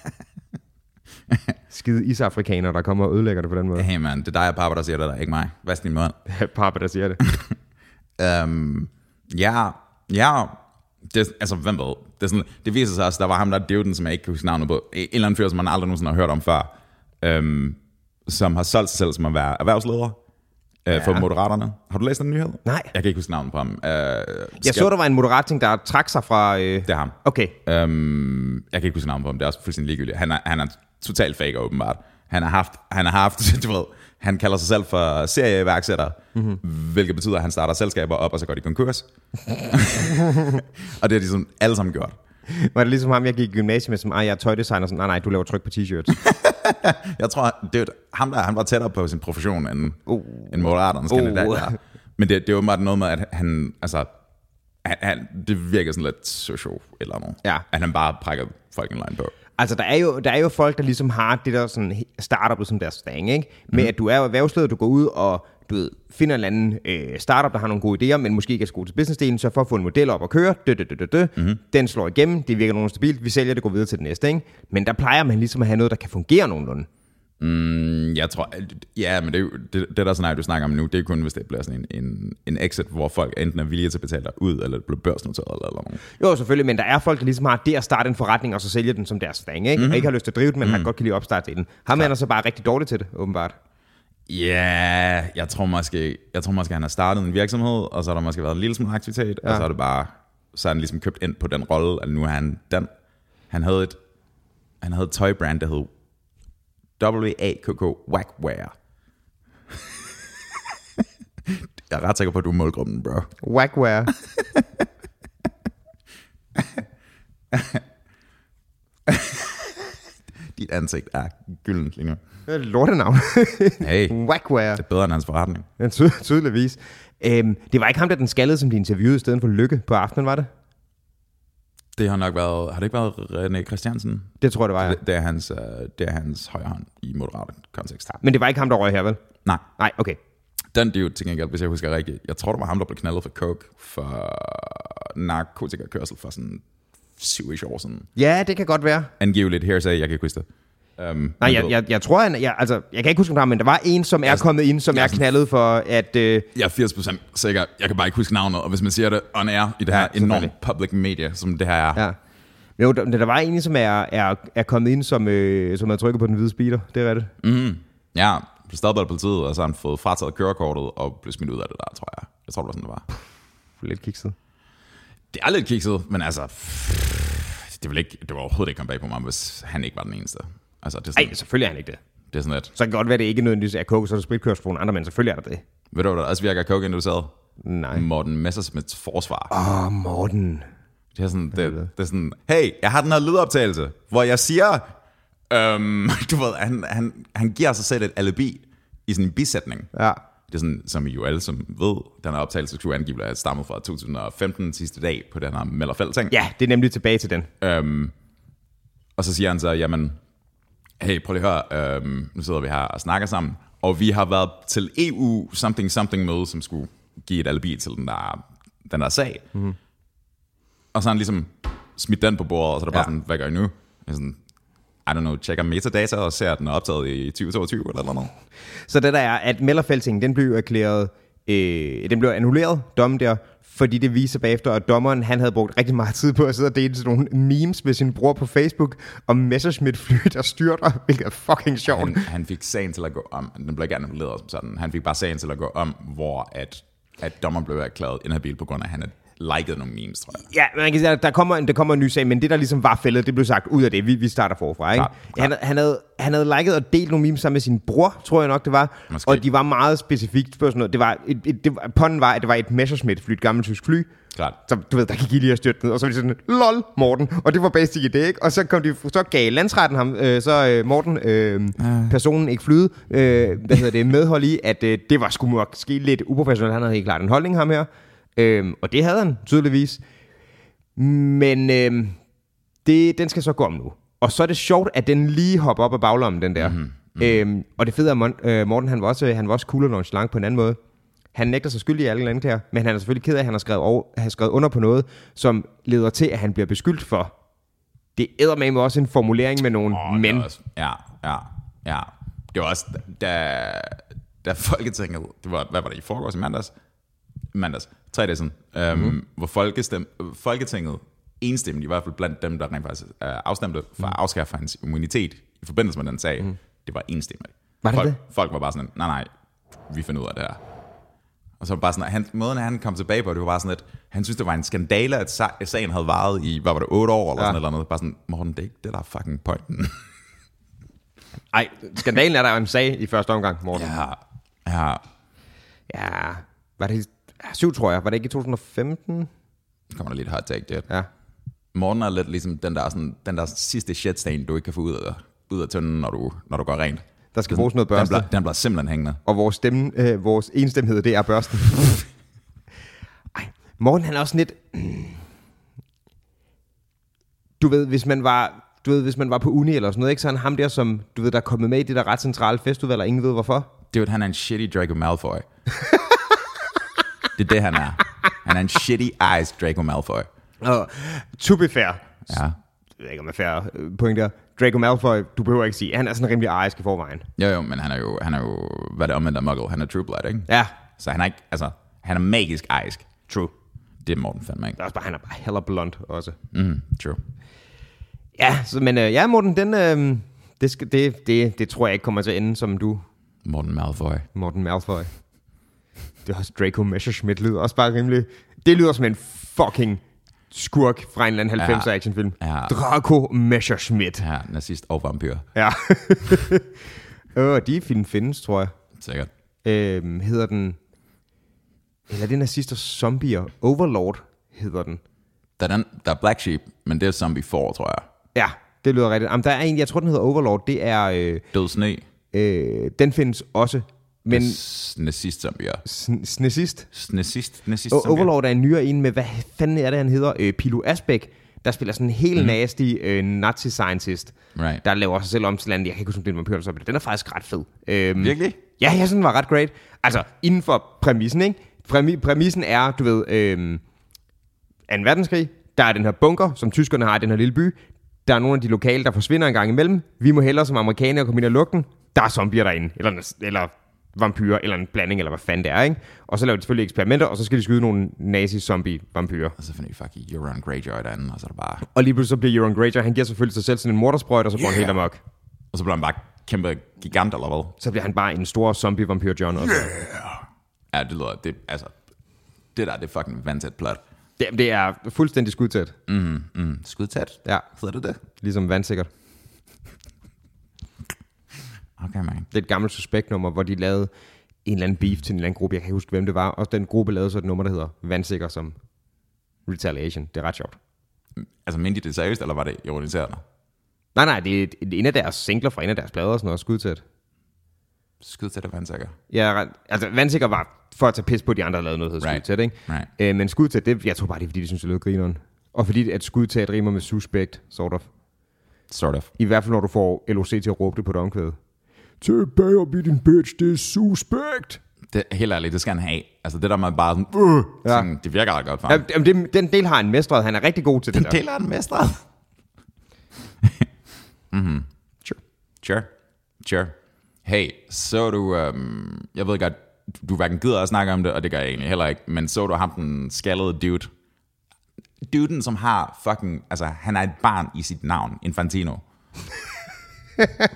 Speaker 2: Skide isafrikanere, der kommer og ødelægger det på den måde.
Speaker 1: Hey man, det er dig og Papa, der siger det der, ikke mig. Hvad er din mund?
Speaker 2: Papa, der siger det.
Speaker 1: Øhm, ja, ja, det, altså hvem ved, det, er sådan, det viser sig også, der var ham der Devden, som jeg ikke kan huske navnet på, en eller anden fyr, som man aldrig nogensinde har hørt om før, øhm, som har solgt sig selv som at være erhvervsleder øh, ja. for Moderaterne. Har du læst den nyhed?
Speaker 2: Nej.
Speaker 1: Jeg kan ikke huske navnet på ham. Øh,
Speaker 2: Jeg så, der var en moderat ting, der trak sig fra... Øh...
Speaker 1: Det er ham.
Speaker 2: Okay,
Speaker 1: Øhm, jeg kan ikke huske navnet på ham, det er også fuldstændig ligegyldigt. Han er, han er totalt fake, åbenbart. Han har haft, han har haft, du ved, han kalder sig selv for serieværksætter, mm-hmm. hvilket betyder, at han starter selskaber op, og så går de konkurs. og det har de sådan alle sammen gjort.
Speaker 2: var det ligesom ham, jeg gik i gymnasiet med, som, ah, jeg er tøjdesigner, sådan, nej, nej, du laver tryk på t-shirts.
Speaker 1: Jeg tror, det er ham der, han var tættere på sin profession end, uh. end Moderaternes uh. kandidat.
Speaker 2: Uh.
Speaker 1: Der. Men det, det er åbenbart noget med, at han, altså, han, han, det virker sådan lidt social eller noget.
Speaker 2: Ja.
Speaker 1: At han bare prækker folk en line på.
Speaker 2: altså, der er, jo, der er jo folk, der ligesom har det der sådan he- startup som deres stang, ikke? Med at du er jo erhvervsleder, du går ud og du ved, finder en eller anden øh, startup, der har nogle gode idéer, men måske ikke er så god til businessdelen, så for at få en model op og køre, dø, dø, dø, dø, dø, mm-hmm. den slår igennem, det virker nogenlunde stabilt, vi sælger det, går videre til det næste, ikke? Men der plejer man ligesom at have noget, der kan fungere nogenlunde.
Speaker 1: Jeg tror, at- ja, men det, er jo- det, det der scenarie, du snakker om nu, det er kun, hvis det bliver sådan en, en, en exit, hvor folk enten er villige til at betale dig ud, eller det bliver børsnoteret eller, eller noget.
Speaker 2: Jo, selvfølgelig, men der er folk, der ligesom har det at starte en forretning, og så sælge den som deres stang, ikke? Mm-hmm. Og ikke har lyst til at drive den, men mm-hmm. har godt kan lide opstart til den. Ham er så bare rigtig dårlig til det, åbenbart.
Speaker 1: Ja, jeg tror måske, jeg tror måske, han har startet en virksomhed, og så har der måske været en lille smule aktivitet, ja. og så er det bare, så er han ligesom købt ind på den rolle, at nu er han den. Han havde et, han havde et tøjbrand, der hed W-A-K-K Whackwear. jeg er ret sikker på, at du er målgruppen, bro.
Speaker 2: Wagware.
Speaker 1: Dit ansigt er gyldent lige nu.
Speaker 2: Lortenavn.
Speaker 1: Hey.
Speaker 2: Wagware.
Speaker 1: Det er bedre end hans forretning.
Speaker 2: Ja, ty- tydeligvis. Øhm, det var ikke ham, der den skaldede, som de interviewede i stedet for Lykke på aftenen, var det?
Speaker 1: Det har nok været, har det ikke været René Christiansen?
Speaker 2: Det tror jeg, det var, ja.
Speaker 1: Det, det, er hans, øh, det er hans højre hånd i moderat kontekst.
Speaker 2: Men det var ikke ham, der røg her, vel?
Speaker 1: Nej,
Speaker 2: Nej, okay.
Speaker 1: den dude til gengæld, hvis jeg husker rigtigt, jeg tror, det var ham, der blev knaldet for coke for narkotikakørsel for sådan 7 år siden.
Speaker 2: Ja, det kan godt være.
Speaker 1: Angiveligt hearsay, jeg kan ikke huske det. Um,
Speaker 2: Nej, jeg, jeg, jeg tror, han, jeg, altså, jeg kan ikke huske, om der men der var en, som er kommet ind, som er knaldet for, at... Øh,
Speaker 1: jeg er 80% sikker. Jeg kan bare ikke huske navnet, og hvis man siger det on air i det her
Speaker 2: Ja,
Speaker 1: ja, enormt public media, som det her er, ja.
Speaker 2: ja. Jo, der, der var en, som er, er, er kommet ind, som, øh, som har trykket på den hvide speeder. Det er rigtigt.
Speaker 1: Ja, blev stoppet af politiet, og så har han fået frataget kørekortet og blev smidt ud af det der, tror jeg. Jeg tror, det var sådan, det var.
Speaker 2: Lidt kikset.
Speaker 1: Det er lidt kikset, men altså... pff, Det, vil ikke, det var overhovedet ikke komme bag på mig, hvis han ikke var den eneste. Altså, det er sådan,
Speaker 2: Nej, selvfølgelig er han ikke det.
Speaker 1: det er sådan lidt...
Speaker 2: Så kan det godt være, det ikke nødvendigvis er koke, så er der spritkørsel for nogle andre, men selvfølgelig er der det.
Speaker 1: Ved du, hvad der også virker coke-induceret?
Speaker 2: Nej.
Speaker 1: Morten Messersmiths forsvar.
Speaker 2: Åh, oh, Morten.
Speaker 1: Det er sådan, Ah. det, det er sådan, hey, jeg har den her lydoptagelse, hvor jeg siger, øhm, du ved, han, han, han giver sig selv et alibi i sådan en bisætning.
Speaker 2: Ja.
Speaker 1: Det er sådan, som I jo alle som ved, den her optagelse skulle angiveligt have stammet fra 2015 sidste dag på den her Mellerfald ting.
Speaker 2: Ja, det er nemlig tilbage til den.
Speaker 1: Øhm, og så siger han så, jamen, hey, prøv lige at høre, øhm, nu sidder vi her og snakker sammen, og vi har været til EU something something møde, som skulle give et alibi til den der, den der sag. Mm-hmm. Og så har han ligesom smidt den på bordet, og så er der bare
Speaker 2: Ja.
Speaker 1: sådan, hvad gør I nu? Jeg er sådan, I don't know, tjekker metadata og ser, at den er optaget i 2022 eller noget. andet.
Speaker 2: Så det der er, at Mellerfælsingen, den blev erklæret, øh, den blev annulleret, dommen der, fordi det viser bagefter, at dommeren, han havde brugt rigtig meget tid på at sidde og dele sådan nogle memes med sin bror på Facebook, om Messerschmidt fly, der styrter, hvilket er fucking sjovt.
Speaker 1: Han, han fik sagen til at gå om, den blev ikke annulleret som sådan, han fik bare sagen til at gå om, hvor at, at dommeren blev erklæret inhabil på grund af, at han er liket nogle memes, tror jeg.
Speaker 2: Ja, man kan sige, at der kommer, en, der kommer en ny sag, men det, der ligesom var fældet, det blev sagt ud af det. Vi, vi starter forfra, ikke?
Speaker 1: Klar, klar.
Speaker 2: Han, han, havde, han havde liket og delt nogle memes sammen med sin bror, tror jeg nok, det var.
Speaker 1: Måske.
Speaker 2: Og de var meget specifikt på sådan noget. Det var et, et, det, var- ponden var, at det var et Messerschmitt-fly, et gammelt tysk fly.
Speaker 1: Klart.
Speaker 2: Så du ved, der gik ild i at styrte ned, og så var de sådan, lol, Morten. Og det var basic i det, ikke? Og så kom de, så gav landsretten ham, øh, så øh, Morten, øh, personen ikke flyde, øh, hvad hedder det, medhold i, at øh, det var sgu måske lidt uprofessionelt. Han havde helt klart en holdning, ham her. Øh, og det havde han, tydeligvis. Men øh, det, den skal så gå om nu. Og så er det sjovt, at den lige hopper op af baglommen, den der. Mm-hmm. Øhm, og det fede er, at Mon- øh, Morten, han var også, han var også cool og nonchalant på en anden måde. Han nægter sig skyldig i alle anklager, men han er selvfølgelig ked af, at han har skrevet, over, har skrevet under på noget, som leder til, at han bliver beskyldt for. Det æder med også en formulering med nogle oh,
Speaker 1: Og det
Speaker 2: men.
Speaker 1: var Også, ja, ja, ja. Det var også, da, da Folketinget, det var, hvad var det, i forgårs i mandags? I mandags, tre dage siden, øhm,
Speaker 2: Mhm.
Speaker 1: mm-hmm. hvor folkestem, Folketinget enstemmigt, i hvert fald blandt dem, der rent faktisk øh, afstemte for
Speaker 2: Mhm.
Speaker 1: at afskaffe hans immunitet i forbindelse med den sag, mm. det var enstemmigt.
Speaker 2: Var det
Speaker 1: folk,
Speaker 2: det?
Speaker 1: folk var bare sådan, nej, nej, vi finder ud af det her. Og så var det bare sådan, at han, måden at han kom tilbage på, det var bare sådan, at han synes, det var en skandale, at sa- at sagen havde varet i, hvad var det, otte år eller
Speaker 2: Ja.
Speaker 1: ja. sådan et eller andet. Bare sådan, Morten, det er ikke det, der er fucking pointen.
Speaker 2: Ej, skandalen er der jo en sag i første omgang, Morten. Ja,
Speaker 1: Ja, ja.
Speaker 2: ja var det ja, syv, tror jeg. Var det ikke i 2015?
Speaker 1: Nu kommer der lidt hot take der.
Speaker 2: Ja.
Speaker 1: Morgen er lidt ligesom den der, sådan, den der sidste shitsten, du ikke kan få ud af, ud af tønden, når du, når du går rent.
Speaker 2: Der skal bruges noget
Speaker 1: Den
Speaker 2: børste.
Speaker 1: bliver, den bliver simpelthen hængende.
Speaker 2: og vores, stemme, øh, vores enstemhed, det er børsten. Ej, Morten han er også lidt... Du ved, hvis man var du ved, hvis man var på uni eller sådan noget, ikke? så er han ham der, som du ved, der er kommet med i det der ret centrale festival, og ingen ved hvorfor.
Speaker 1: Dude, han er en shitty Draco Malfoy. det er det, han er. Han er en shitty eyes Draco Malfoy.
Speaker 2: Og to be fair,
Speaker 1: Ja.
Speaker 2: jeg ved ikke om jeg er fair øh, point der, Draco Malfoy, du behøver ikke sige, han er sådan rimelig arisk i forvejen.
Speaker 1: Jo, jo, men han er jo, han er jo hvad er det omvendt af muggle? Han er true blood, ikke?
Speaker 2: Ja,
Speaker 1: Så han er ikke, altså, han er magisk ejisk.
Speaker 2: true.
Speaker 1: Det er Morten fandme ikke.
Speaker 2: Der er også bare, han er bare heller blond også.
Speaker 1: Mm, true.
Speaker 2: Ja, så, men øh, ja, Morten, den, øh, det, skal, det, det, det tror jeg ikke kommer til at ende, som du
Speaker 1: Morten Malfoy.
Speaker 2: Morten Malfoy. Det er også Draco Messerschmidt lyder også bare rimelig... Det lyder som en fucking skurk fra en eller anden 90'er
Speaker 1: Ja.
Speaker 2: actionfilm.
Speaker 1: Ja.
Speaker 2: Draco Messerschmidt.
Speaker 1: Ja, nazist og vampyr.
Speaker 2: Ja. øh, de film findes, tror jeg.
Speaker 1: Sikkert.
Speaker 2: Øhm, hedder den... Eller er det nazister zombier? Overlord hedder den.
Speaker 1: Der er, den, der er Black Sheep, men det er Zombie 4, tror jeg.
Speaker 2: Ja, det lyder rigtigt. Jamen, der er en, jeg tror, den hedder Overlord. Det er... Øh,
Speaker 1: Død sne.
Speaker 2: øh, den findes også. Men
Speaker 1: S- Nazist zombier.
Speaker 2: sn- snæsist,
Speaker 1: Nazist, nazist
Speaker 2: O-
Speaker 1: zombier.
Speaker 2: Overlord er en nyere en med, hvad fanden er det, han hedder? Øh, Pilo Asbæk, der spiller sådan en helt mm. nasty øh, nazi-scientist,
Speaker 1: Right.
Speaker 2: der laver sig selv om til landet. Jeg kan ikke huske, om det er en vampyr eller sådan, men den er faktisk ret fed. Øhm,
Speaker 1: Virkelig?
Speaker 2: Ja, jeg synes, den var ret great. Altså, inden for præmissen, ikke? Præmi- præmissen er, du ved, øh, 2. verdenskrig, der er den her bunker, som tyskerne har i den her lille by. Der er nogle af de lokale, der forsvinder en gang imellem. Vi må hellere som amerikanere komme ind og lukke den. Der er zombier derinde, eller, eller vampyrer, eller en blanding, eller hvad fanden det er, ikke? Og så laver de selvfølgelig eksperimenter, og så skal de skyde nogle nazi-zombie-vampyrer.
Speaker 1: Og så finder vi fucking Euron Greyjoy derinde, og så er der bare...
Speaker 2: Og lige pludselig så bliver Euron Greyjoy, han giver selvfølgelig sig selv sådan en mordersprøjt, og så går yeah. han helt amok.
Speaker 1: Og så bliver han bare kæmpe gigant eller hvad?
Speaker 2: Så bliver han bare en stor zombie-vampyr John også. Yeah.
Speaker 1: Ja, det lyder... Det, altså, det der, det er fucking vandtæt plot.
Speaker 2: Det, det, er fuldstændig skudtæt.
Speaker 1: Mm, skudtæt?
Speaker 2: Ja,
Speaker 1: Hedder det det?
Speaker 2: ligesom vandsikkert.
Speaker 1: Okay, man.
Speaker 2: Det er et gammelt suspektnummer, hvor de lavede en eller anden beef til en eller anden gruppe. Jeg kan ikke huske, hvem det var. Og den gruppe lavede så et nummer, der hedder Vandsikker som Retaliation. Det er ret sjovt.
Speaker 1: Altså, mente de det seriøst, eller var det ironiserende?
Speaker 2: Nej, nej, det er et- en af deres singler fra en af deres plader og sådan noget, skudtæt.
Speaker 1: Skudtæt er vandsikker.
Speaker 2: Jeg er ret, altså, Vandsikker var for at tage pis på de andre, der lavede noget, der hedder
Speaker 1: Right.
Speaker 2: skudtæt, ikke?
Speaker 1: Right.
Speaker 2: Øh, men skudtæt, det, jeg tror bare, det er, fordi de synes, det lød grineren. Og fordi at skudtæt rimer med suspect, sort of.
Speaker 1: Sort of.
Speaker 2: I hvert fald, når du får LOC til at råbe det på det omkvæde. Tilbage og blive din bitch, det er suspect.
Speaker 1: Det, helt ærligt, det skal han have. Altså, det der med bare sådan... Øh,
Speaker 2: Uh, Ja.
Speaker 1: ja. sådan det virker ret godt for ham.
Speaker 2: Jamen, jamen, det, den del har han mestret. Han er rigtig god til det der.
Speaker 1: Ja. Deler han mestret? mhm. Sure. Mm-hmm. Sure. Sure. Hey, så du... Øhm, jeg ved godt, du hverken gider at snakke om det, og det gør jeg egentlig heller ikke, men så du ham, den skaldede dude? Duden, som har fucking... Altså, han er et barn i sit navn. Infantino.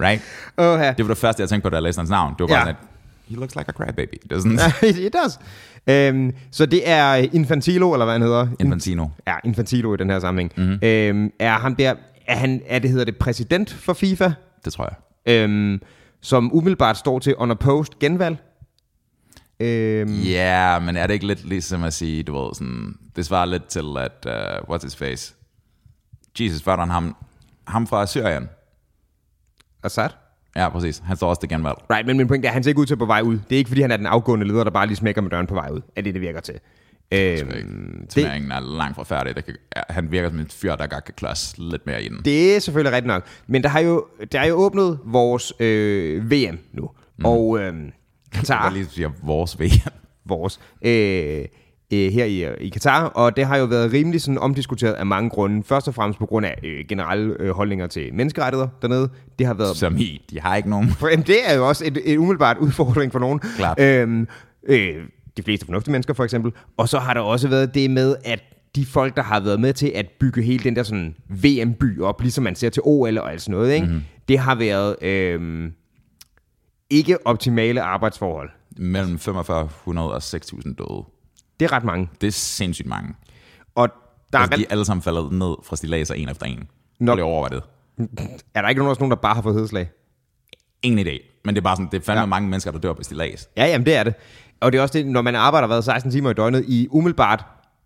Speaker 1: right?
Speaker 2: Åh, ja.
Speaker 1: Det var det første, jeg tænkte på, da jeg læste hans navn. Det var bare ja.
Speaker 2: Ja.
Speaker 1: sådan, at he looks like a crybaby, doesn't he?
Speaker 2: It does. Øhm, så det er Infantilo, eller hvad han hedder.
Speaker 1: Infantino.
Speaker 2: Ja, Infantilo i den her sammenhæng. Mm-hmm. Øhm, er ham der, er han, er det hedder det præsident for FIFA,
Speaker 1: Det tror jeg.
Speaker 2: øhm, som umiddelbart står til under post genvalg. Øhm,
Speaker 1: Ja, yeah, men er det ikke lidt ligesom at sige, du ved, sådan, det svarer lidt til, at, uh, what's his face? Jesus, var der ham, ham fra Syrien?
Speaker 2: Assad?
Speaker 1: Ja, præcis. Han står også til genvalg.
Speaker 2: Right, men min pointe er, at han ser ikke ud til at på vej ud. Det er ikke, fordi han er den afgående leder, der bare lige smækker med døren på vej ud. Er det, det virker til. Øhm, det,
Speaker 1: Turneringen er langt fra færdig. Det kan, ja, han virker som en fyr, der godt kan klods lidt mere i den.
Speaker 2: Det er selvfølgelig rigtigt nok. Men der har jo, der er jo åbnet vores øh, VM nu. Mm. Og øh,
Speaker 1: Jeg
Speaker 2: Katar,
Speaker 1: Ah. lige siger vores VM.
Speaker 2: vores, øh, øh, her i, i Katar. Og det har jo været rimelig sådan omdiskuteret af mange grunde. Først og fremmest på grund af øh, generelle øh, holdninger til menneskerettigheder dernede. Det har været
Speaker 1: Som i, de har ikke nogen.
Speaker 2: For, jamen, det er jo også et, et umiddelbart udfordring for nogen.
Speaker 1: Klart.
Speaker 2: Øhm, øh, de fleste fornuftige mennesker, for eksempel. Og så har der også været det med, at de folk, der har været med til at bygge hele den der sådan VM-by op, ligesom man ser til OL og alt sådan noget,
Speaker 1: Mhm.
Speaker 2: ikke? Mm-hmm. det har været øhm, ikke optimale arbejdsforhold.
Speaker 1: Mellem 4500 og 6000 døde.
Speaker 2: Det er ret mange.
Speaker 1: Det er sindssygt mange.
Speaker 2: Og der
Speaker 1: Altså,
Speaker 2: er,
Speaker 1: de er alle sammen faldet ned fra stilaser en efter en.
Speaker 2: Nå.
Speaker 1: Nå. Det over det.
Speaker 2: er der ikke nogen, også nogen, der bare har fået hedslag?
Speaker 1: Ingen idé. Men det er bare sådan, det er fandme ja. mange mennesker, der dør på stilas.
Speaker 2: Ja, jamen det er det. Og det er også det, når man arbejder hvad, 16 timer i døgnet i umiddelbart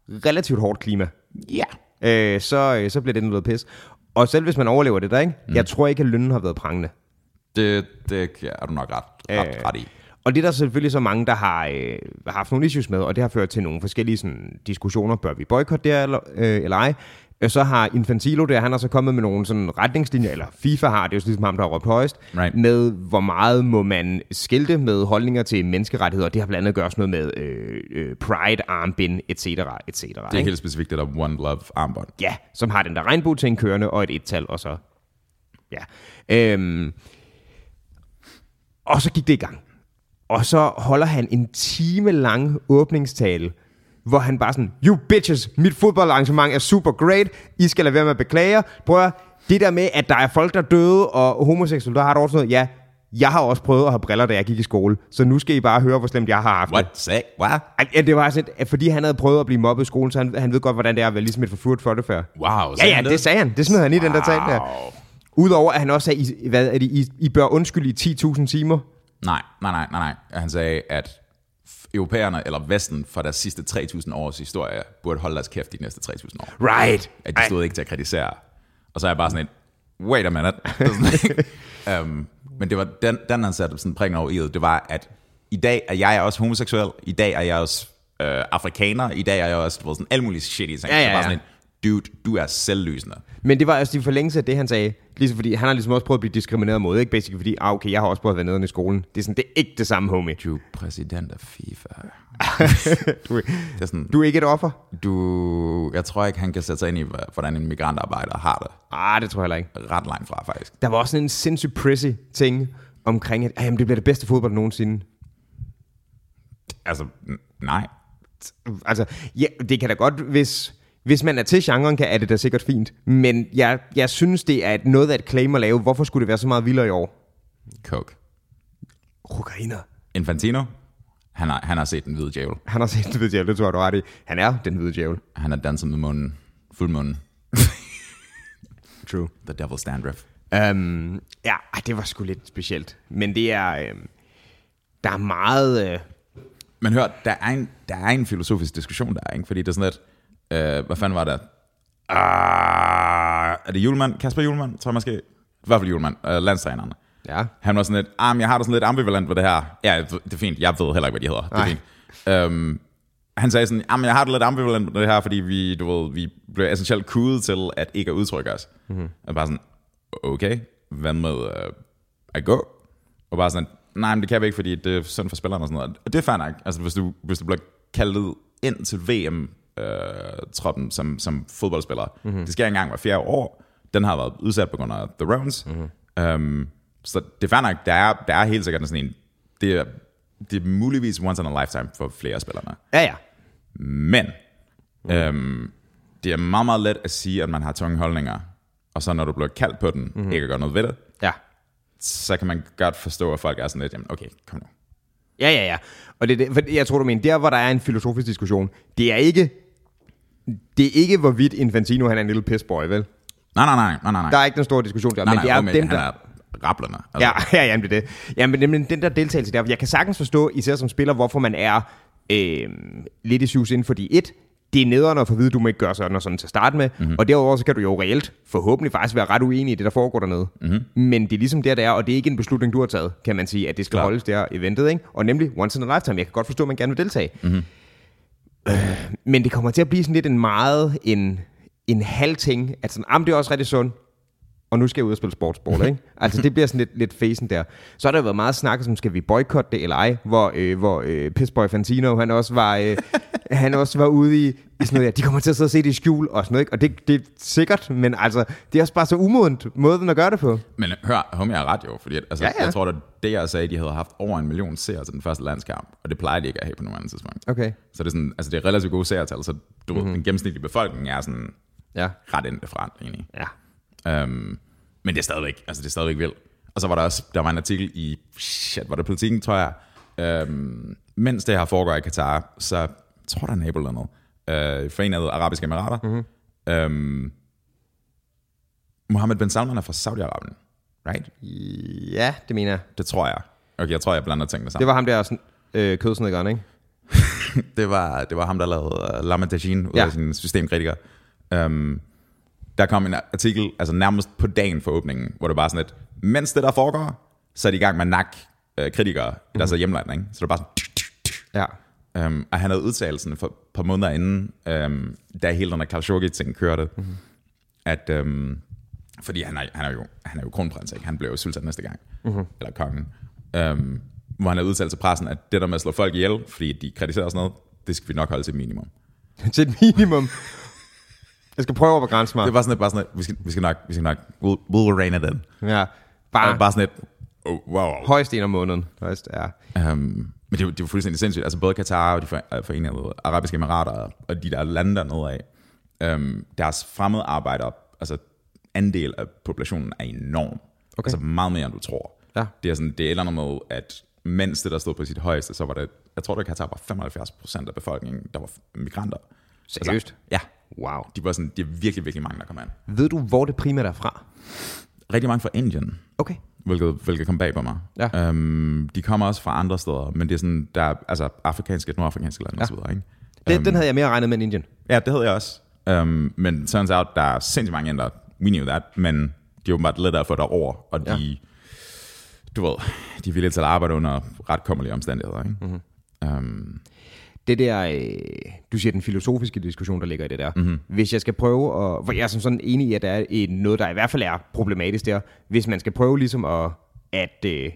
Speaker 2: relativt hårdt klima.
Speaker 1: Ja.
Speaker 2: øh, så, øh, så bliver det noget pis. Og selv hvis man overlever det der, ikke? Mm. jeg tror ikke, at lønnen har været prangende.
Speaker 1: Det, det er du nok ret, ret, øh. ret i.
Speaker 2: Og det er der selvfølgelig så mange, der har øh, haft nogle issues med, og det har ført til nogle forskellige sådan, diskussioner. Bør vi boykotte det eller, øh, eller ej? Øh, Så har Infantilo der, han er så kommet med nogle sådan retningslinjer, eller FIFA har, det er jo ligesom ham, der har råbt højst,
Speaker 1: Right.
Speaker 2: med hvor meget må man skilte med holdninger til menneskerettigheder. Det har blandt andet at gøre sådan noget med øh, øh, pride, armbind, etc. etc.
Speaker 1: Det er helt specifikt det der One Love armbånd.
Speaker 2: ja, som har den der regnbueting kørende, og et et-tal, og så... Ja. Øhm, og så gik det i gang. Og så holder han en time lang åbningstale, hvor han bare sådan, you bitches, mit fodboldarrangement er super great, I skal lade være med at beklage, prøv at, høre, det der med, at der er folk, der er døde, og homoseksuelle, der har det også noget, ja, jeg har også prøvet at have briller, da jeg gik i skole, så nu skal I bare høre, hvor slemt jeg har haft det.
Speaker 1: What? Say? What?
Speaker 2: Ej, Ja, det var sådan, at fordi han havde prøvet at blive mobbet i skolen, så han, han ved godt, hvordan det er at være ligesom et forfurt for det før.
Speaker 1: Wow.
Speaker 2: Ja, ja, det sagde han. Det smed han i den der tale der.
Speaker 1: Wow.
Speaker 2: Udover at han også sagde, I, hvad er det, I, I bør undskylde i 10.000 timer.
Speaker 1: Nej, nej, nej, nej, nej. Han sagde, at f- europæerne, eller Vesten, for deres sidste 3.000 års historie, burde holde deres kæft de næste 3.000 år.
Speaker 2: Right.
Speaker 1: At de stod ikke til at kritisere. Og så er jeg bare sådan en, wait a minute. Det er sådan, um, men det var den, den han satte sådan prikken over i, det var, at i dag er jeg også homoseksuel, i dag er jeg også øh, afrikaner, i dag er jeg også du ved, sådan alle mulige shitty ting.
Speaker 2: Ja, ja,
Speaker 1: Så bare
Speaker 2: ja.
Speaker 1: sådan en, dude, du er selvlysende.
Speaker 2: Men det var også i forlængelse af det, han sagde. Ligesom fordi han har ligesom også prøvet at blive diskrimineret mod, ikke? Basically fordi, ah, okay, jeg har også prøvet at være nederen i skolen. Det er sådan, det er ikke det samme, homie.
Speaker 1: Du er præsident af FIFA.
Speaker 2: Du,
Speaker 1: Det er sådan,
Speaker 2: du er ikke et offer?
Speaker 1: du, jeg tror ikke, han kan sætte sig ind i, hva- hvordan en migrantarbejder har det.
Speaker 2: Ah, det tror jeg heller ikke.
Speaker 1: Ret langt fra, faktisk.
Speaker 2: Der var også sådan en sindssygt prissy ting omkring, at ah, jamen, det bliver det bedste fodbold nogensinde.
Speaker 1: Altså, n- nej.
Speaker 2: Altså, ja, det kan da godt, hvis, hvis man er til genren, kan, er det da sikkert fint. Men jeg, jeg synes, det er et, noget af et claim at lave. Hvorfor skulle det være så meget vildere i år?
Speaker 1: Coke.
Speaker 2: Kokainer.
Speaker 1: Infantino, han har, han har set den hvide djævel.
Speaker 2: Han har set den hvide djævel, det tror jeg, du har ret i. Han er den hvide djævel.
Speaker 1: Han har danset med munden. Fuldmunden.
Speaker 2: True.
Speaker 1: The Devil's Dandruff.
Speaker 2: Um, ja, ej, det var sgu lidt specielt. Men det er... Um, der er meget... Uh,
Speaker 1: Men hør, der er en, der er en filosofisk diskussion der, ikke? Fordi det er sådan lidt, øh, hvad fanden var det? Ah, er det Julemand? Kasper Julemand, tror jeg måske. I hvert fald Julemand, øh, landstræneren.
Speaker 2: ja.
Speaker 1: Han var sådan lidt, ah, men jeg har da sådan lidt ambivalent ved det her. Ja, det er fint, jeg ved heller ikke, hvad de hedder. Det er
Speaker 2: Nej.
Speaker 1: fint. Øhm, han sagde sådan, ah, men jeg har det lidt ambivalent med det her, fordi vi, du ved, vi blev essentielt kudet til at ikke at udtrykke os. Mm-hmm. Og bare sådan, okay, hvad med øh, at gå? Og bare sådan, nej, men det kan vi ikke, fordi det er synd for spillerne og sådan noget. Og det er fair nok. Altså, hvis du, hvis du bliver kaldet ind til VM-troppen som, som fodboldspiller, mm-hmm. det sker ikke engang hver fjerde år. Den har været udsat på grund af The Rounds. Mm-hmm. Øhm, så det er fair nok, der er, der er helt sikkert sådan en, det er, det er muligvis once in a lifetime for flere af spillerne.
Speaker 2: Ja, ja.
Speaker 1: Men
Speaker 2: Mm.
Speaker 1: øhm, det er meget, meget let at sige, at man har tunge holdninger, og så når du bliver kaldt på den,
Speaker 2: Mhm.
Speaker 1: mm-hmm. ikke at gøre noget ved det,
Speaker 2: Ja.
Speaker 1: så kan man godt forstå, at folk er sådan lidt, jamen okay, kom nu.
Speaker 2: Ja, ja, ja. Og det, er det, for jeg tror, du mener, der hvor der er en filosofisk diskussion, det er ikke, det er ikke hvorvidt Infantino han er en lille pissboy, vel?
Speaker 1: Nej, nej, nej, nej, nej.
Speaker 2: Der er ikke den store diskussion der,
Speaker 1: nej,
Speaker 2: men det er
Speaker 1: nej,
Speaker 2: dem,
Speaker 1: han
Speaker 2: der...
Speaker 1: er rablerne. Altså,
Speaker 2: Ja, ja, jamen det er det. Jamen, nemlig den der deltagelse der, jeg kan sagtens forstå, især som spiller, hvorfor man er øh, lidt i sus inden for de et, det er nederen at få at vide, at du må ikke gøre sådan og sådan til at starte med. Mm-hmm. Og derudover så kan du jo reelt forhåbentlig faktisk være ret uenig i det, der foregår dernede. Mm-hmm. Men det er ligesom der, det er, og det er ikke en beslutning, du har taget, kan man sige, at det skal
Speaker 1: Klart.
Speaker 2: holdes der eventet. Ikke? Og nemlig once in a lifetime. Jeg kan godt forstå, at man gerne vil deltage. Mm-hmm. Øh, men det kommer til at blive sådan lidt en meget en, en halv ting, at sådan, jamen, det er også rigtig sundt, og nu skal jeg ud og spille sportsball, ikke? Altså, det bliver sådan lidt, lidt fesen der. Så har der jo været meget snak om, skal vi boykotte det eller ej, hvor, øh, hvor øh, Pissboy Fantino, han også var, øh, han også var ude i, i sådan noget, ja, de kommer til at sidde og se det i skjul og sådan noget, ikke? Og det, det er sikkert, men altså, det er også bare så umodent måden at gøre det på.
Speaker 1: Men hør, hom, jeg er ret jo, fordi at, altså,
Speaker 2: Ja,
Speaker 1: ja,
Speaker 2: ja.
Speaker 1: ja. jeg tror, at det, jeg sagde, de havde haft over en million seere til den første landskamp, og det plejer de ikke at have på nogen anden tidspunkt.
Speaker 2: Okay.
Speaker 1: Så det er, sådan, altså, det er relativt gode seertal, så du mm-hmm. ved, den gennemsnitlige befolkning er sådan
Speaker 2: Ja.
Speaker 1: ret indefra, egentlig.
Speaker 2: Ja.
Speaker 1: Øhm, men det er stadigvæk, altså det er stadigvæk vildt. Og så var der også, der var en artikel i, shit, var det politikken, tror jeg. Øhm, mens det her foregår i Katar, så jeg tror der er nabolandet, øh, Forenede Arabiske Emirater. Mm-hmm. Øhm, Mohammed bin Salman er fra Saudi-Arabien, right?
Speaker 2: Ja, det mener jeg.
Speaker 1: Det tror jeg. Okay, jeg tror, jeg blander tingene sammen.
Speaker 2: Det var ham der sådan, øh, kødsnedgøren, ikke?
Speaker 1: det var, det var ham, der lavede uh, Lama Tajin ud
Speaker 2: Ja.
Speaker 1: ja. af sin systemkritiker. Um, der kom en artikel, altså nærmest på dagen for åbningen, hvor det bare sådan lidt, mens det der foregår, så er de i gang med nak uh, kritikere, mm-hmm. der så hjemland, ikke? Så det var bare sådan...
Speaker 2: Ja.
Speaker 1: Um, og han havde udtalelsen for et par måneder inden, um, da hele den her Khashoggi-ting kørte, mm-hmm. at... Um, fordi han er, han, er jo, han er jo kronprins, ikke? Han bliver jo sultan næste gang. Mm-hmm. Eller kongen. Um, hvor han har udtalt til pressen, at det der med at slå folk ihjel, fordi de kritiserer og sådan noget, det skal vi nok holde til et minimum.
Speaker 2: til et minimum. Jeg skal prøve at begrænse mig.
Speaker 1: Det var sådan lidt, bare sådan lidt, vi skal, vi skal nok, vi skal nok, we'll, we'll rein it in.
Speaker 2: Ja.
Speaker 1: Ah.
Speaker 2: Bare,
Speaker 1: Og bare sådan lidt, oh, wow.
Speaker 2: højst en om måneden. Højst, ja.
Speaker 1: Um, men det, var- det var fuldstændig sindssygt. Altså både Katar og de for- øh, forenede arabiske emirater og de der lande dernede af, um, deres fremmede arbejder, altså andel af populationen er enorm. Okay. Altså meget mere, end du tror.
Speaker 2: Ja.
Speaker 1: Det er sådan, det er et eller andet med, at mens det der stod på sit højeste, så var det, jeg tror, at Katar var 75 procent af befolkningen, der var migranter.
Speaker 2: Seriøst?
Speaker 1: Altså, ja.
Speaker 2: Wow.
Speaker 1: De var sådan, det er virkelig, virkelig mange, der kom ind.
Speaker 2: Ved du, hvor det primært er fra?
Speaker 1: Rigtig mange fra Indien.
Speaker 2: Okay.
Speaker 1: hvilket, hvilket kom bag på mig.
Speaker 2: Ja.
Speaker 1: Øhm, de kommer også fra andre steder, men det er sådan, der er altså afrikanske, nordafrikanske lande ja. osv., ikke?
Speaker 2: Den, um, den havde jeg mere regnet med end Indien.
Speaker 1: Ja, det havde jeg også. Øhm, men turns out, der er sindssygt mange indere. We knew that, men de er åbenbart lettere for dig over, og de, ja. du ved, de er villige til at arbejde under ret kummerlige omstændigheder, ikke? Mm-hmm. Øhm,
Speaker 2: Det der, øh, du siger den filosofiske diskussion, der ligger i det der. Mm-hmm. Hvis jeg skal prøve at... For jeg er som sådan enig i, at der er et- noget, der i hvert fald er problematisk der. Hvis man skal prøve ligesom at... at øh,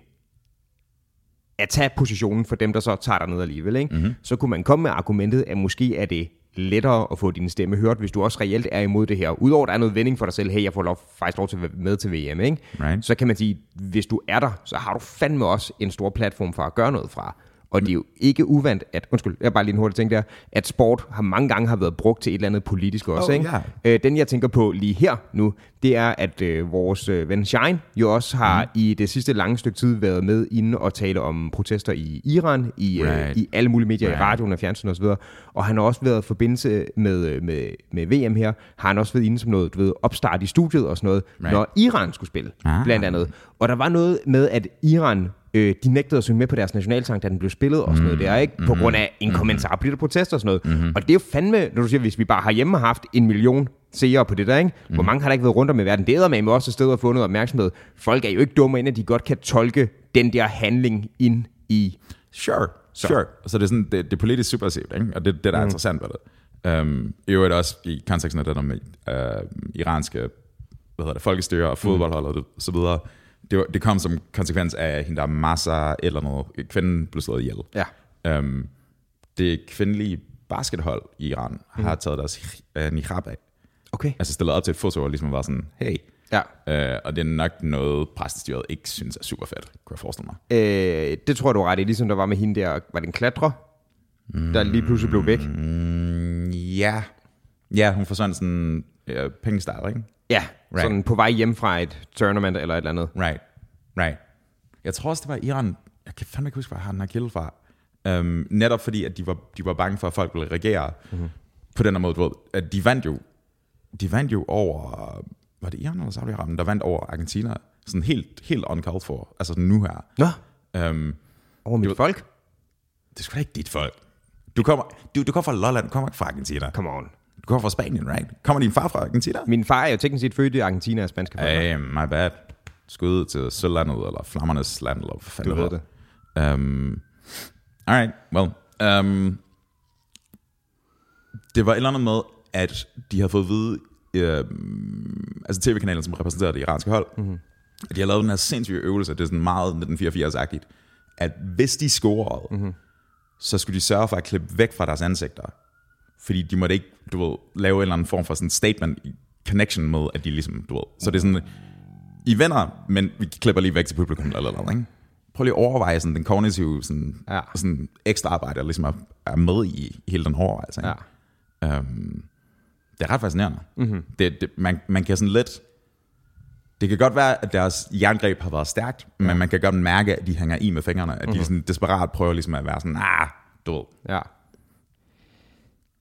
Speaker 2: at tage positionen for dem, der så tager dig ned alligevel, ikke?
Speaker 1: Mhm.
Speaker 2: Mm-hmm. så kunne man komme med argumentet, at måske er det lettere at få din stemme hørt, hvis du også reelt er imod det her. Udover at der er noget vending for dig selv, hey, jeg får lov, faktisk lov til at være med til VM, ikke?
Speaker 1: Right.
Speaker 2: så kan man sige, hvis du er der, så har du fandme også en stor platform for at gøre noget fra. Og det er jo ikke uvandt, at, undskyld, jeg har bare lige en hurtig ting der, at sport har mange gange har været brugt til et eller andet politisk også.
Speaker 1: Oh,
Speaker 2: ikke?
Speaker 1: ja.
Speaker 2: Øh, den jeg tænker på lige her nu, det er, at øh, vores øh, ven Shine jo også har mm. i det sidste lange stykke tid været med inde og tale om protester i Iran, i, right. øh,
Speaker 1: Right.
Speaker 2: i alle mulige medier, right. i
Speaker 1: Right.
Speaker 2: radioen og fjernsyn osv. Og han har også været i forbindelse med, øh, med, med VM her, har han også været inde som noget, du ved, opstart i studiet og sådan noget, right.
Speaker 1: Right.
Speaker 2: når Iran skulle spille, ah.
Speaker 1: Ah.
Speaker 2: blandt andet. Og der var noget med, at Iran... Øh, de nægtede at synge med på deres nationalsang, da den blev spillet og sådan
Speaker 1: Mm.
Speaker 2: noget der, ikke?
Speaker 1: Mm-hmm.
Speaker 2: På grund af en kommentar, bliver der protest og sådan noget. Og det er jo fandme, når du siger, hvis vi bare har hjemme haft en million seere på det der, ikke?
Speaker 1: Mm-hmm.
Speaker 2: Hvor mange har der ikke været rundt om i verden? Det er med også et sted at få noget opmærksomhed. Folk er jo ikke dumme, inden at de godt kan tolke den der handling ind i...
Speaker 1: Sure, så. sure. Så det er sådan, det, det er politisk subversivt, ikke? og det er det, der er mm. interessant ved det. Um, I øvrigt også i konteksten af det der med øh, iranske hvad hedder det, folkestyre og fodboldhold og det, så videre, det, var, det kom som konsekvens af hende, der masser eller noget, kvinden blev slået ihjel.
Speaker 2: Ja.
Speaker 1: Um, det kvindelige baskethold i Iran mm. har taget deres uh, niqab af,
Speaker 2: Okay.
Speaker 1: altså stillet op til et foto og ligesom var sådan, hey,
Speaker 2: Ja.
Speaker 1: uh, og det er nok noget, præstestyret ikke synes er super fedt, kunne jeg forestille mig.
Speaker 2: Øh, det tror jeg, du er ret i. Ligesom der var med hende der, var det en klatre? Der lige pludselig blev væk.
Speaker 1: Mm, ja. Ja, hun forsvandt sådan øh, pengestyle, ikke?
Speaker 2: Ja, right.
Speaker 1: Right.
Speaker 2: sådan på vej hjem fra et tournament eller et eller andet.
Speaker 1: Right. Right. Jeg tror også, det var Iran. jeg kan fandme ikke huske, hvor jeg har den her kilde fra. Øhm, netop fordi, at de var, de var bange for, at folk ville reagere mm-hmm. på den her måde. Du ved, at de vandt jo, de vandt jo over, var det Iran eller Saudi-Arabien, der vandt over Argentina? Sådan helt, helt uncalled for, altså sådan nu her.
Speaker 2: Nå,
Speaker 1: Øhm,
Speaker 2: over mit folk?
Speaker 1: det er sgu da ikke dit folk. Du kommer, du, du kommer fra Lolland, du kommer ikke fra Argentina.
Speaker 2: Come on.
Speaker 1: Du kommer fra Spanien, right? Kommer din far fra Argentina?
Speaker 2: Min far er jo teknisk set født i Argentina og spanske forældre.
Speaker 1: Hey, my bad. Skud til Sølvlandet, eller Flammernes Land, eller hvad fanden
Speaker 2: Du ved det.
Speaker 1: Um, alright, well. Um, det var et eller andet med, at de havde fået at vide, øhm, altså tv-kanalen, som repræsenterede det iranske hold, mm-hmm. at de havde lavet den her sindssyge øvelse, det er sådan meget 1984-agtigt, at hvis de scorede, mm-hmm. så skulle de sørge for at klippe væk fra deres ansigter. Fordi de måtte ikke, du ved, lave en eller anden form for sådan statement i connection med, at de ligesom, du ved. Så det er sådan, i venner, men vi klipper lige væk til publikum eller noget, ikke? Prøv lige at overveje sådan, den kognitive sådan,
Speaker 2: Ja.
Speaker 1: ja. sådan ekstra arbejde, der ligesom er, er med i hele den overvejelse. Ikke?
Speaker 2: Ja.
Speaker 1: Øhm, det er ret fascinerende. Mm-hmm. Det, det, man, man kan sådan lidt... Det kan godt være, at deres jerngreb har været stærkt, ja. men man kan godt mærke, at de hænger i med fingrene, at mm-hmm. de sådan desperat prøver ligesom at være sådan, ah, du ved.
Speaker 2: Ja.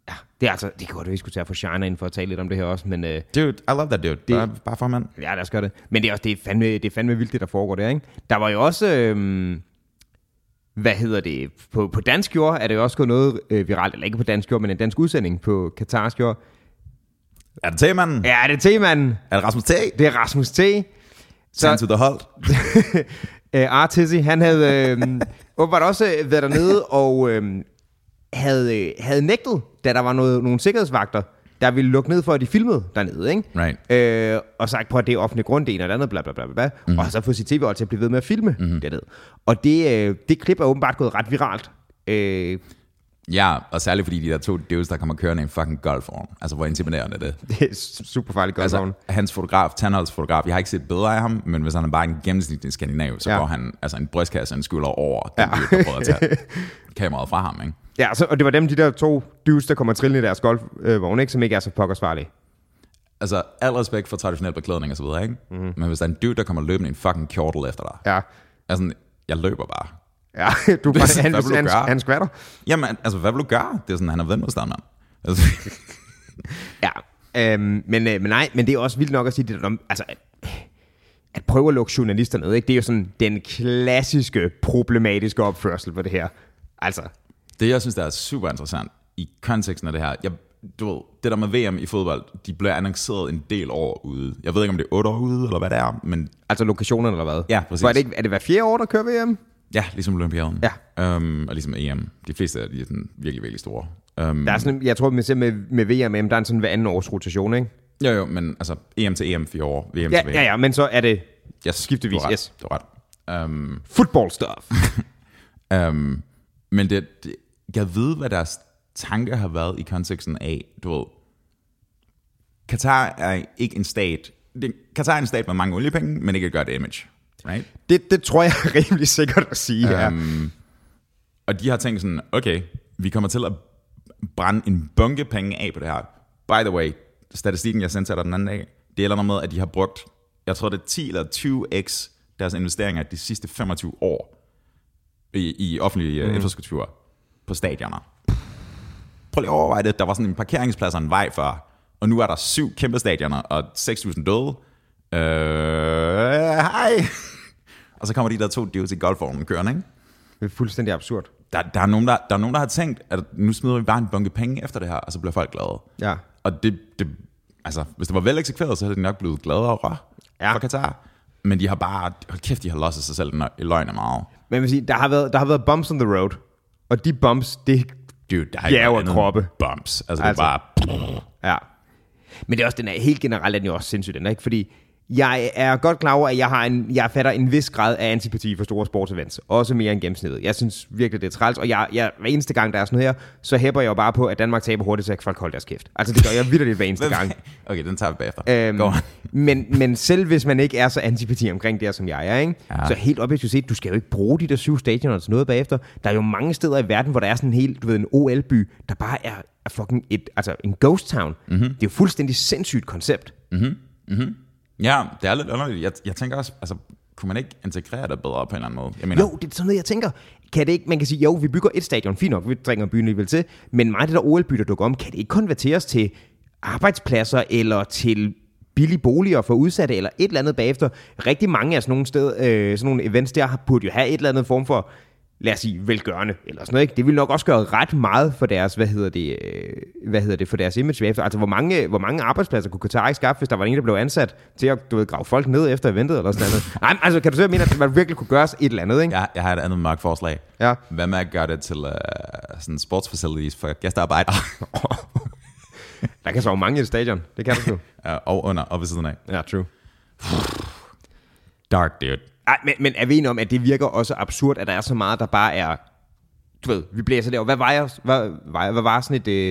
Speaker 2: Ja, det er altså, det kunne godt være, vi skulle tage for Shiner ind for at tale lidt om det her også, men øh,
Speaker 1: Dude, I love that dude. Det, bare, bare for mand.
Speaker 2: ja, lad os gøre det. Men det er også, det er fandme, det er fandme vildt, det der foregår der, ikke? Der var jo også, øh, hvad hedder det, på, på dansk jord er det jo også gået noget øh, viralt, eller ikke på dansk jord, men en dansk udsending på Katars jord.
Speaker 1: Er det T-manden?
Speaker 2: Ja, det er T-manden.
Speaker 1: Er det Rasmus T?
Speaker 2: Det er Rasmus T.
Speaker 1: Så... to the hold.
Speaker 2: Øh, Artizzi, han havde øh, åbenbart også øh, været dernede og øh, havde, øh, havde nægtet, da der var noget, nogle sikkerhedsvagter, der ville lukke ned for, at de filmede dernede, ikke?
Speaker 1: Right. Mhm.
Speaker 2: Øh, og sagt på, at det er offentlig grund, det ene og det andet, bla bla bla bla, bla. Mm. Og så få sit tv til at blive ved med at filme mm. dernede. Og det, øh, det klip er åbenbart gået ret viralt. Øh,
Speaker 1: Ja, og særligt fordi de der to dudes, der kommer kørende i en fucking golform. Altså, hvor intimiderende er det?
Speaker 2: det er super farligt godt
Speaker 1: Altså,
Speaker 2: altså,
Speaker 1: hans fotograf, Tandholds fotograf, jeg har ikke set bedre af ham, men hvis han er bare en gennemsnitlig skandinav, så
Speaker 2: Ja.
Speaker 1: ja. går han altså en brystkasse og en skulder over den ja. dyr, der prøver at tage kameraet fra ham. Ikke?
Speaker 2: Ja, så, og det var dem, de der to dudes, der kommer trillende i deres golfvogn, ikke? Som ikke er så pokkersvarlige.
Speaker 1: Altså, al respekt for traditionel beklædning og så videre, ikke? Mm-hmm. men hvis der er en dyr, der kommer løbende i en fucking kjortel efter dig,
Speaker 2: Ja.
Speaker 1: altså, jeg løber bare.
Speaker 2: Ja, du,
Speaker 1: Det er sådan,
Speaker 2: han,
Speaker 1: hvad vil du
Speaker 2: han,
Speaker 1: gøre?
Speaker 2: han skvatter.
Speaker 1: Jamen, altså, hvad vil du gøre? Det er sådan, han er vedmodstand, mand. Altså,
Speaker 2: Ja, øhm, men, øh, men nej, men det er også vildt nok at sige det der om, altså, at, at prøve at lukke journalister ned, ikke? det er jo sådan den klassiske problematiske opførsel på det her. Altså,
Speaker 1: det, jeg synes, der er super interessant i konteksten af det her, jeg, du ved, det der med VM i fodbold, de bliver annonceret en del år ude. Jeg ved ikke, om det er otte år ude, eller hvad det er, men
Speaker 2: altså lokationerne eller hvad?
Speaker 1: Ja, præcis.
Speaker 2: Var det ikke, er det hver fjerde år, der kører VM?
Speaker 1: Ja, ligesom Olympiaden. Ja. Um, og ligesom EM. De fleste af de er sådan virkelig, virkelig store. Um,
Speaker 2: Der er sådan, jeg tror, man ser med, med VMM, der er en sådan hver anden års rotation, ikke?
Speaker 1: jo, jo, men altså EM til EM fire år, VM
Speaker 2: Ja,
Speaker 1: til VM.
Speaker 2: ja, ja, men så er det
Speaker 1: Yes, skiftevis,
Speaker 2: yes.
Speaker 1: Du har ret. Um,
Speaker 2: football stuff.
Speaker 1: um, men det, det, jeg ved, hvad deres tanker har været i konteksten af, du ved, Katar er ikke en stat. Det, Katar er en stat med mange oliepenge, men ikke et godt image. Right?
Speaker 2: det, det tror jeg er rimelig sikkert at sige, ja.
Speaker 1: Øhm, og de har tænkt sådan, okay, vi kommer til at brænde en bunke penge af på det her. By the way, statistikken, jeg sendte til dig den anden dag, det er eller andet med, at de har brugt, jeg tror det er 10 eller 20x deres investeringer de sidste 25 år i, i offentlige mm. infrastrukturer på stadioner. Prøv lige at overveje det. Der var sådan en parkeringsplads og en vej før, og nu er der syv kæmpe stadioner og 6.000 døde. Øh, hej! og så kommer de der to dudes i golfvognen kørende, ikke?
Speaker 2: Det er fuldstændig absurd.
Speaker 1: der, der, er nogen, der, der er nogen, der har tænkt, at nu smider vi bare en bunke penge efter det her, og så bliver folk glade.
Speaker 2: Ja.
Speaker 1: Og det, det altså, hvis det var vel eksekveret, så havde de nok blevet glade over
Speaker 2: Ja.
Speaker 1: ja. for Katar. Men de har bare, hold kæft, de har losset sig selv i løgn og meget.
Speaker 2: Men jeg vil sige, der har, været, der har været bumps on the road, og de bumps, det
Speaker 1: Dude, der har
Speaker 2: Ja,
Speaker 1: ikke
Speaker 2: og
Speaker 1: været andet
Speaker 2: kroppe.
Speaker 1: end bumps. Altså, altså,
Speaker 2: Altså.
Speaker 1: det er bare,
Speaker 2: Ja. Men det er også den er helt generelt er den jo også sindssygt den er, ikke? Fordi jeg er godt klar over, at jeg, har en, jeg fatter en vis grad af antipati for store sportsevents. Også mere end gennemsnittet. Jeg synes virkelig, det er træls. Og jeg, jeg, hver eneste gang, der er sådan noget her, så hæpper jeg jo bare på, at Danmark taber hurtigt, så jeg kan folk holde deres kæft. Altså det gør jeg vidderligt hver eneste gang.
Speaker 1: okay, den tager vi bagefter.
Speaker 2: Øhm,
Speaker 1: Go on.
Speaker 2: men, men selv hvis man ikke er så antipati omkring det, her, som jeg er, ikke? Ja.
Speaker 1: Ja.
Speaker 2: så helt objektivt set, du skal jo ikke bruge de der syv stadioner til noget bagefter. Der er jo mange steder i verden, hvor der er sådan en helt, du ved, en OL-by, der bare er, er fucking et, altså en ghost town. Mm-hmm. Det er jo fuldstændig sindssygt koncept.
Speaker 1: Ja, det er lidt underligt. Jeg, jeg tænker også, altså, Kunne man ikke integrere det bedre på en eller anden måde? Jeg
Speaker 2: mener, jo, det er sådan noget, jeg tænker. Kan det ikke, man kan sige, jo, vi bygger et stadion, fint nok, vi trænger byen alligevel til, men meget af det der OL-by, der dukker om, kan det ikke konverteres til arbejdspladser eller til billige boliger for udsatte eller et eller andet bagefter. Rigtig mange af sådan nogle, sted, øh, sådan nogle events der burde jo have et eller andet form for, lad os sige, velgørende eller sådan noget. Ikke? Det vil nok også gøre ret meget for deres, hvad hedder det, øh, hvad hedder det for deres image bagefter. Altså, hvor mange, hvor mange arbejdspladser kunne Qatar skaffe, hvis der var en, der blev ansat til at, du ved, grave folk ned efter eventet eller sådan noget. Nej, altså, kan du så mene, at man virkelig kunne gøre et eller andet, ikke?
Speaker 1: Jeg, jeg har et andet mørkt forslag.
Speaker 2: Ja.
Speaker 1: Hvad med at gøre det til uh, sådan sportsfacilities for gæstearbejdere?
Speaker 2: Der kan sove mange i et stadion. Det kan du sgu.
Speaker 1: Ja, og under og ved siden af.
Speaker 2: Ja, true.
Speaker 1: Dark, dude.
Speaker 2: Ej, men, men er vi enige om, at det virker også absurd, at der er så meget, der bare er... Du ved, vi blæser derovre. Hvad vejer, hvad, vejer, hvad var sådan et... Øh,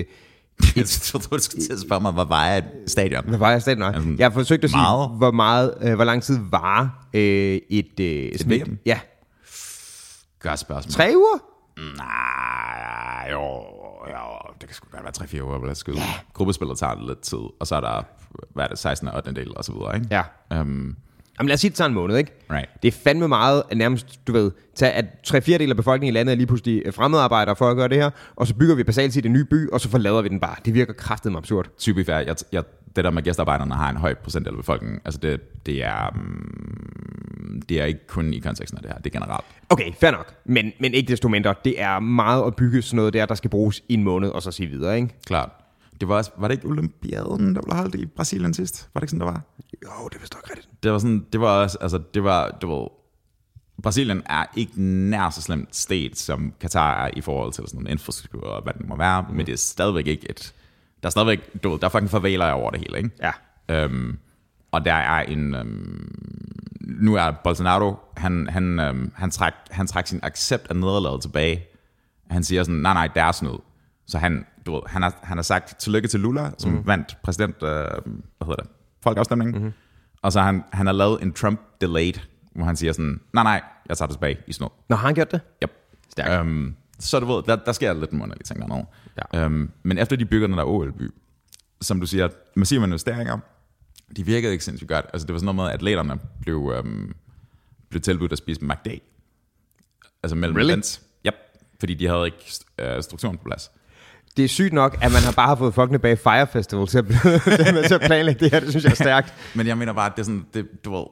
Speaker 1: Jeg troede, du skulle til at spørge mig, hvad vejer et stadion?
Speaker 2: hvad vejer staten nok?
Speaker 1: Jamen,
Speaker 2: Jeg har forsøgt at sige,
Speaker 1: meget.
Speaker 2: hvor, meget, øh, hvor lang tid varer øh, et... Øh, sådan
Speaker 1: VM?
Speaker 2: ja,
Speaker 1: Godt spørgsmål.
Speaker 2: tre uger?
Speaker 1: Nej, jo, jo, det kan sgu godt være 3-4 uger, eller skud. Ja. Gruppespillet tager lidt tid, og så er der, hvad er det, 16. og 8. del, og så videre, ikke?
Speaker 2: Ja.
Speaker 1: Øhm,
Speaker 2: Jamen lad os sige, det tager en måned, ikke?
Speaker 1: Right.
Speaker 2: Det er fandme meget, at nærmest, du ved, tage, at tre fjerdedel af befolkningen i landet er lige pludselig øh, fremmedarbejdere for at gøre det her, og så bygger vi basalt set en ny by, og så forlader vi den bare. Det virker kraftigt absurd.
Speaker 1: typisk er, jeg, jeg, det der med at gæstearbejderne har en høj procentdel af befolkningen, altså det, det er, mm, det er ikke kun i konteksten af det her, det er generelt.
Speaker 2: Okay, fair nok. Men, men ikke desto mindre, det er meget at bygge sådan noget der, der skal bruges i en måned, og så sige videre, ikke?
Speaker 1: Klart. Det var, også, var det ikke Olympiaden, der blev holdt i Brasilien sidst? Var det ikke sådan, det var?
Speaker 2: Jo, det er vist nok rigtigt.
Speaker 1: Det var sådan, det var også, altså det var, det var, Brasilien er ikke nær så slemt stat, som Katar er i forhold til sådan en infrastruktur og hvad det nu må være, mm. men det er stadigvæk ikke et, der er stadigvæk, du ved, der er fucking farveler over det hele, ikke?
Speaker 2: Ja.
Speaker 1: Øhm, og der er en... Øhm, nu er Bolsonaro, han, han, øhm, han, træk, han træk sin accept af nederlaget tilbage. Han siger sådan, nej, nej, der er snyd. Så han, du ved, han, har, han har sagt tillykke til Lula, som mm. vandt præsident... Øh, hvad hedder det? Folkeafstemningen. Mm-hmm. Og så har han, han har lavet en Trump-delayed, hvor han siger sådan, nej, nej, jeg tager det tilbage i snyd.
Speaker 2: Nå, har han gjort det?
Speaker 1: Yep.
Speaker 2: Stærkt.
Speaker 1: Øhm, så du ved, der, der sker lidt månedlige ting dernede.
Speaker 2: Ja.
Speaker 1: Ja. Øhm, men efter de bygger den der OL-by, som du siger, massive investeringer, de virkede ikke sindssygt godt. Altså det var sådan noget med, at atleterne blev, øhm, blev tilbudt at spise McD. Altså mellem
Speaker 2: Really?
Speaker 1: events. Yep. Fordi de havde ikke øh, strukturen på plads.
Speaker 2: Det er sygt nok, at man har bare har fået folkene bag Fire Festival til at, til at planlægge det her. Det synes jeg er stærkt.
Speaker 1: Men jeg mener bare, at det er sådan, det, du ved,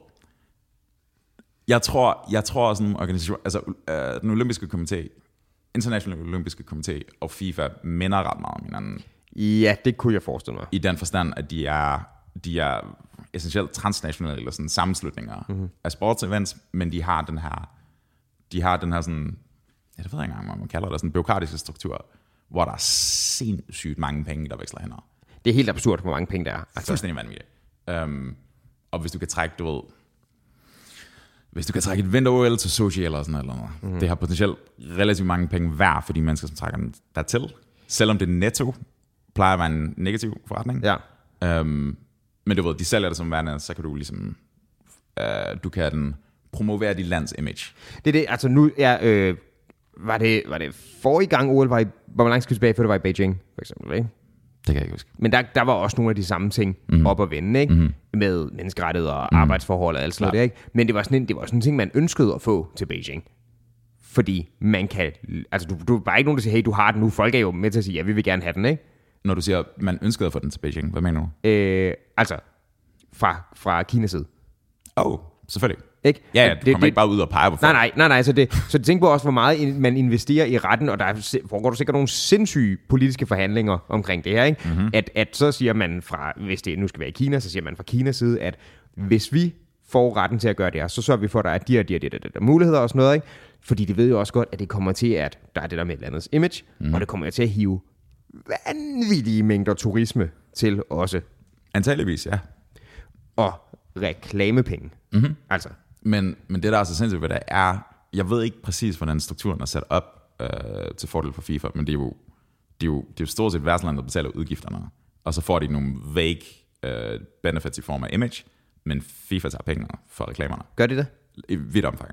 Speaker 1: jeg tror, jeg tror sådan en organisation, altså øh, den olympiske komité, International Olympiske Komité og FIFA minder ret meget om hinanden.
Speaker 2: Ja, det kunne jeg forestille mig.
Speaker 1: i den forstand, at de er, de er essentielt transnationale eller sådan sammenslutninger mm-hmm. af sportsevents, men de har den her, de har den her sådan, ja, det ved jeg ikke engang, hvad man kalder det, sådan byråkratiske struktur, hvor der er sindssygt mange penge, der veksler hænder.
Speaker 2: Det er helt absurd, hvor mange penge der er.
Speaker 1: Altså. Fuldstændig vanvittigt. Um, og hvis du kan trække, du ved, hvis du kan trække et vinter-OL til Sochi eller sådan noget, eller noget mm. det har potentielt relativt mange penge hver for de mennesker, som trækker den dertil. Selvom det netto plejer at være en negativ forretning.
Speaker 2: Ja.
Speaker 1: Øhm, men du ved, de sælger det som værende, så kan du ligesom, øh, du kan den promovere dit lands image.
Speaker 2: Det er det, altså nu er... Øh, var det, var det forrige gang OL var i, hvor man langt skulle tilbage, før det var i Beijing, for eksempel, ikke?
Speaker 1: Det kan jeg ikke huske.
Speaker 2: Men der, der var også nogle af de samme ting
Speaker 1: Mhm.
Speaker 2: mm-hmm. op at vende, ikke? Mm-hmm. Med menneskerettigheder og mm-hmm. arbejdsforhold og alt sådan noget der, ikke? Men det var, sådan en, det var sådan en ting, man ønskede at få til Beijing. Fordi man kan... Altså, du, du er bare ikke nogen, der siger, hey, du har den nu. Folk er jo med til at sige, ja, vi vil gerne have den, ikke?
Speaker 1: Når du siger, man ønskede at få den til Beijing, hvad mener du?
Speaker 2: Øh, altså, fra, fra Kinas side.
Speaker 1: Åh, oh, selvfølgelig.
Speaker 2: Ikke?
Speaker 1: Ja, ja,
Speaker 2: At
Speaker 1: du det, kommer det, ikke bare ud og peger på folk.
Speaker 2: Nej, nej, nej, nej. Så, det, så tænk på også, hvor meget in- man investerer i retten, og der er si- foregår der sikkert nogle sindssyge politiske forhandlinger omkring det her. Ikke? Mm-hmm. At, at så siger man fra, hvis det nu skal være i Kina, så siger man fra Kinas side, at hvis vi får retten til at gøre det her, så sørger vi for, at der er de og de og de, og de, og de, de muligheder og sådan noget. Ikke? Fordi de ved jo også godt, at det kommer til, at der er det der med et landets image, mm. og det kommer til at hive vanvittige mængder turisme til også,
Speaker 1: Antageligvis, ja.
Speaker 2: og reklamepenge. Mm-hmm. Altså,
Speaker 1: Men, men det, der er så sindssygt ved det, er, jeg ved ikke præcis, hvordan strukturen er sat op øh, til fordel for FIFA, men det er jo, det er jo, det er jo stort set værtslandet, der betaler udgifterne, og så får de nogle vague øh, benefits i form af image, men FIFA tager pengene for reklamerne.
Speaker 2: gør de det?
Speaker 1: I vidt omfang.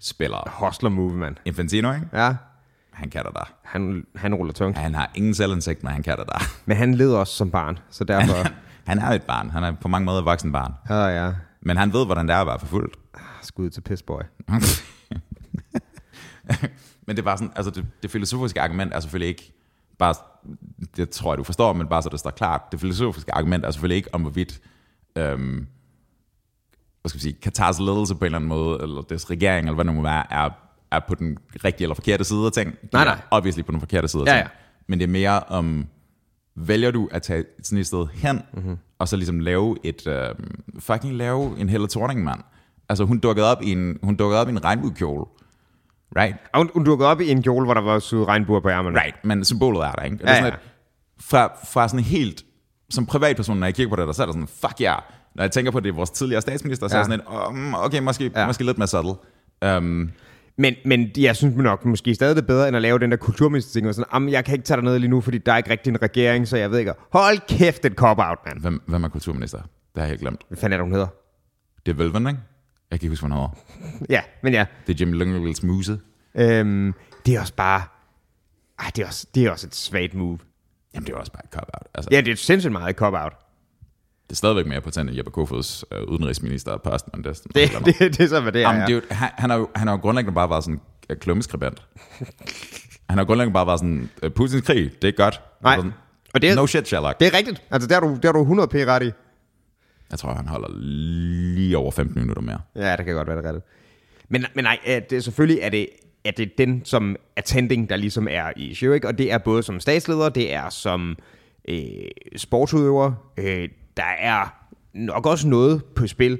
Speaker 1: Spiller
Speaker 2: Hustler move, mand.
Speaker 1: Infantino, ikke?
Speaker 2: Ja,
Speaker 1: Han kan det der.
Speaker 2: han, han ruller tungt.
Speaker 1: Han har ingen selvindsigt, men han kan det der.
Speaker 2: Men han led også som barn, så derfor...
Speaker 1: Han er jo et barn. Han er på mange måder et voksen barn.
Speaker 2: ah, ja.
Speaker 1: Men han ved, hvordan det er at være forfulgt.
Speaker 2: Skud til Pissboy.
Speaker 1: men det var sådan, altså det, det filosofiske argument er selvfølgelig ikke bare, det tror jeg du forstår, men bare så det står klart, det filosofiske argument er selvfølgelig ikke om hvorvidt, øhm, hvad skal vi sige, Katars ledelse på en eller anden måde, eller dets regering, eller hvad det nu må være, er, er på den rigtige eller forkerte side af ting.
Speaker 2: Nej, nej.
Speaker 1: Ja, Obviously på den forkerte side af
Speaker 2: Ja,
Speaker 1: ting. Men det er mere om, vælger du at tage sådan et sted hen,
Speaker 2: Mhm.
Speaker 1: mm-hmm. og så ligesom lave et, øh, fucking lave en Helle Thorning, mand. Altså hun dukkede op i en, hun dukkede op i en regnbuekjole. Right?
Speaker 2: Og hun, hun dukkede op i en kjole, hvor der var syet regnbuer på ærmerne.
Speaker 1: Right, men symbolet er der, ikke? Og
Speaker 2: Ja,
Speaker 1: det er
Speaker 2: ja.
Speaker 1: sådan, at fra, fra sådan helt, som privatperson, når jeg kigger på det, der, så er der sådan, fuck ja. Yeah. Når jeg tænker på, at det er vores tidligere statsminister, så er
Speaker 2: Ja.
Speaker 1: jeg sådan lidt, um, okay, måske, ja. måske lidt mere subtle. Um,
Speaker 2: Men, men jeg synes nok måske stadig det er bedre, end at lave den der kulturminister-ting, og sådan, "Jamen, jeg kan ikke tage dig ned lige nu, fordi der er ikke rigtig en regering, så jeg ved ikke. Hold kæft, et cop-out, mand.
Speaker 1: hvem, hvem er kulturminister? Det har jeg helt glemt.
Speaker 2: Hvad fanden er det, hun hedder?
Speaker 1: Det er Velven, ikke? Jeg kan ikke huske, hvad han hedder.
Speaker 2: Ja, men ja.
Speaker 1: Det er Jim Lyngvilds muse.
Speaker 2: Øhm, det er også bare... Ej, det er også, det er også et svagt move.
Speaker 1: Jamen, det er også bare et cop-out. Altså,
Speaker 2: Ja, det er sindssygt meget et cop-out.
Speaker 1: Det er stadigvæk mere potent end Jeppe Kofods øh, udenrigsminister og post, men det er sådan-
Speaker 2: Det, det, det, er så, hvad det er.
Speaker 1: Jamen,
Speaker 2: ja.
Speaker 1: det er jo, han, han, har jo, han har jo grundlæggende bare været sådan øh, klummeskribent. han har grundlæggende bare været sådan, øh, Putins krig, det er godt.
Speaker 2: Nej.
Speaker 1: Sådan,
Speaker 2: Og det er-
Speaker 1: no shit, Sherlock.
Speaker 2: Det er rigtigt. Altså, der er du, der er du 100p ret i.
Speaker 1: Jeg tror, han holder lige over 15 minutter mere.
Speaker 2: Ja, det kan godt være, det er rigtigt. Men, men nej, øh, det, selvfølgelig er det, er det den, som er tending, der ligesom er i show, ikke? Og det er både som statsleder, det er som øh, sportsudøver. Øh, der er nok også noget på spil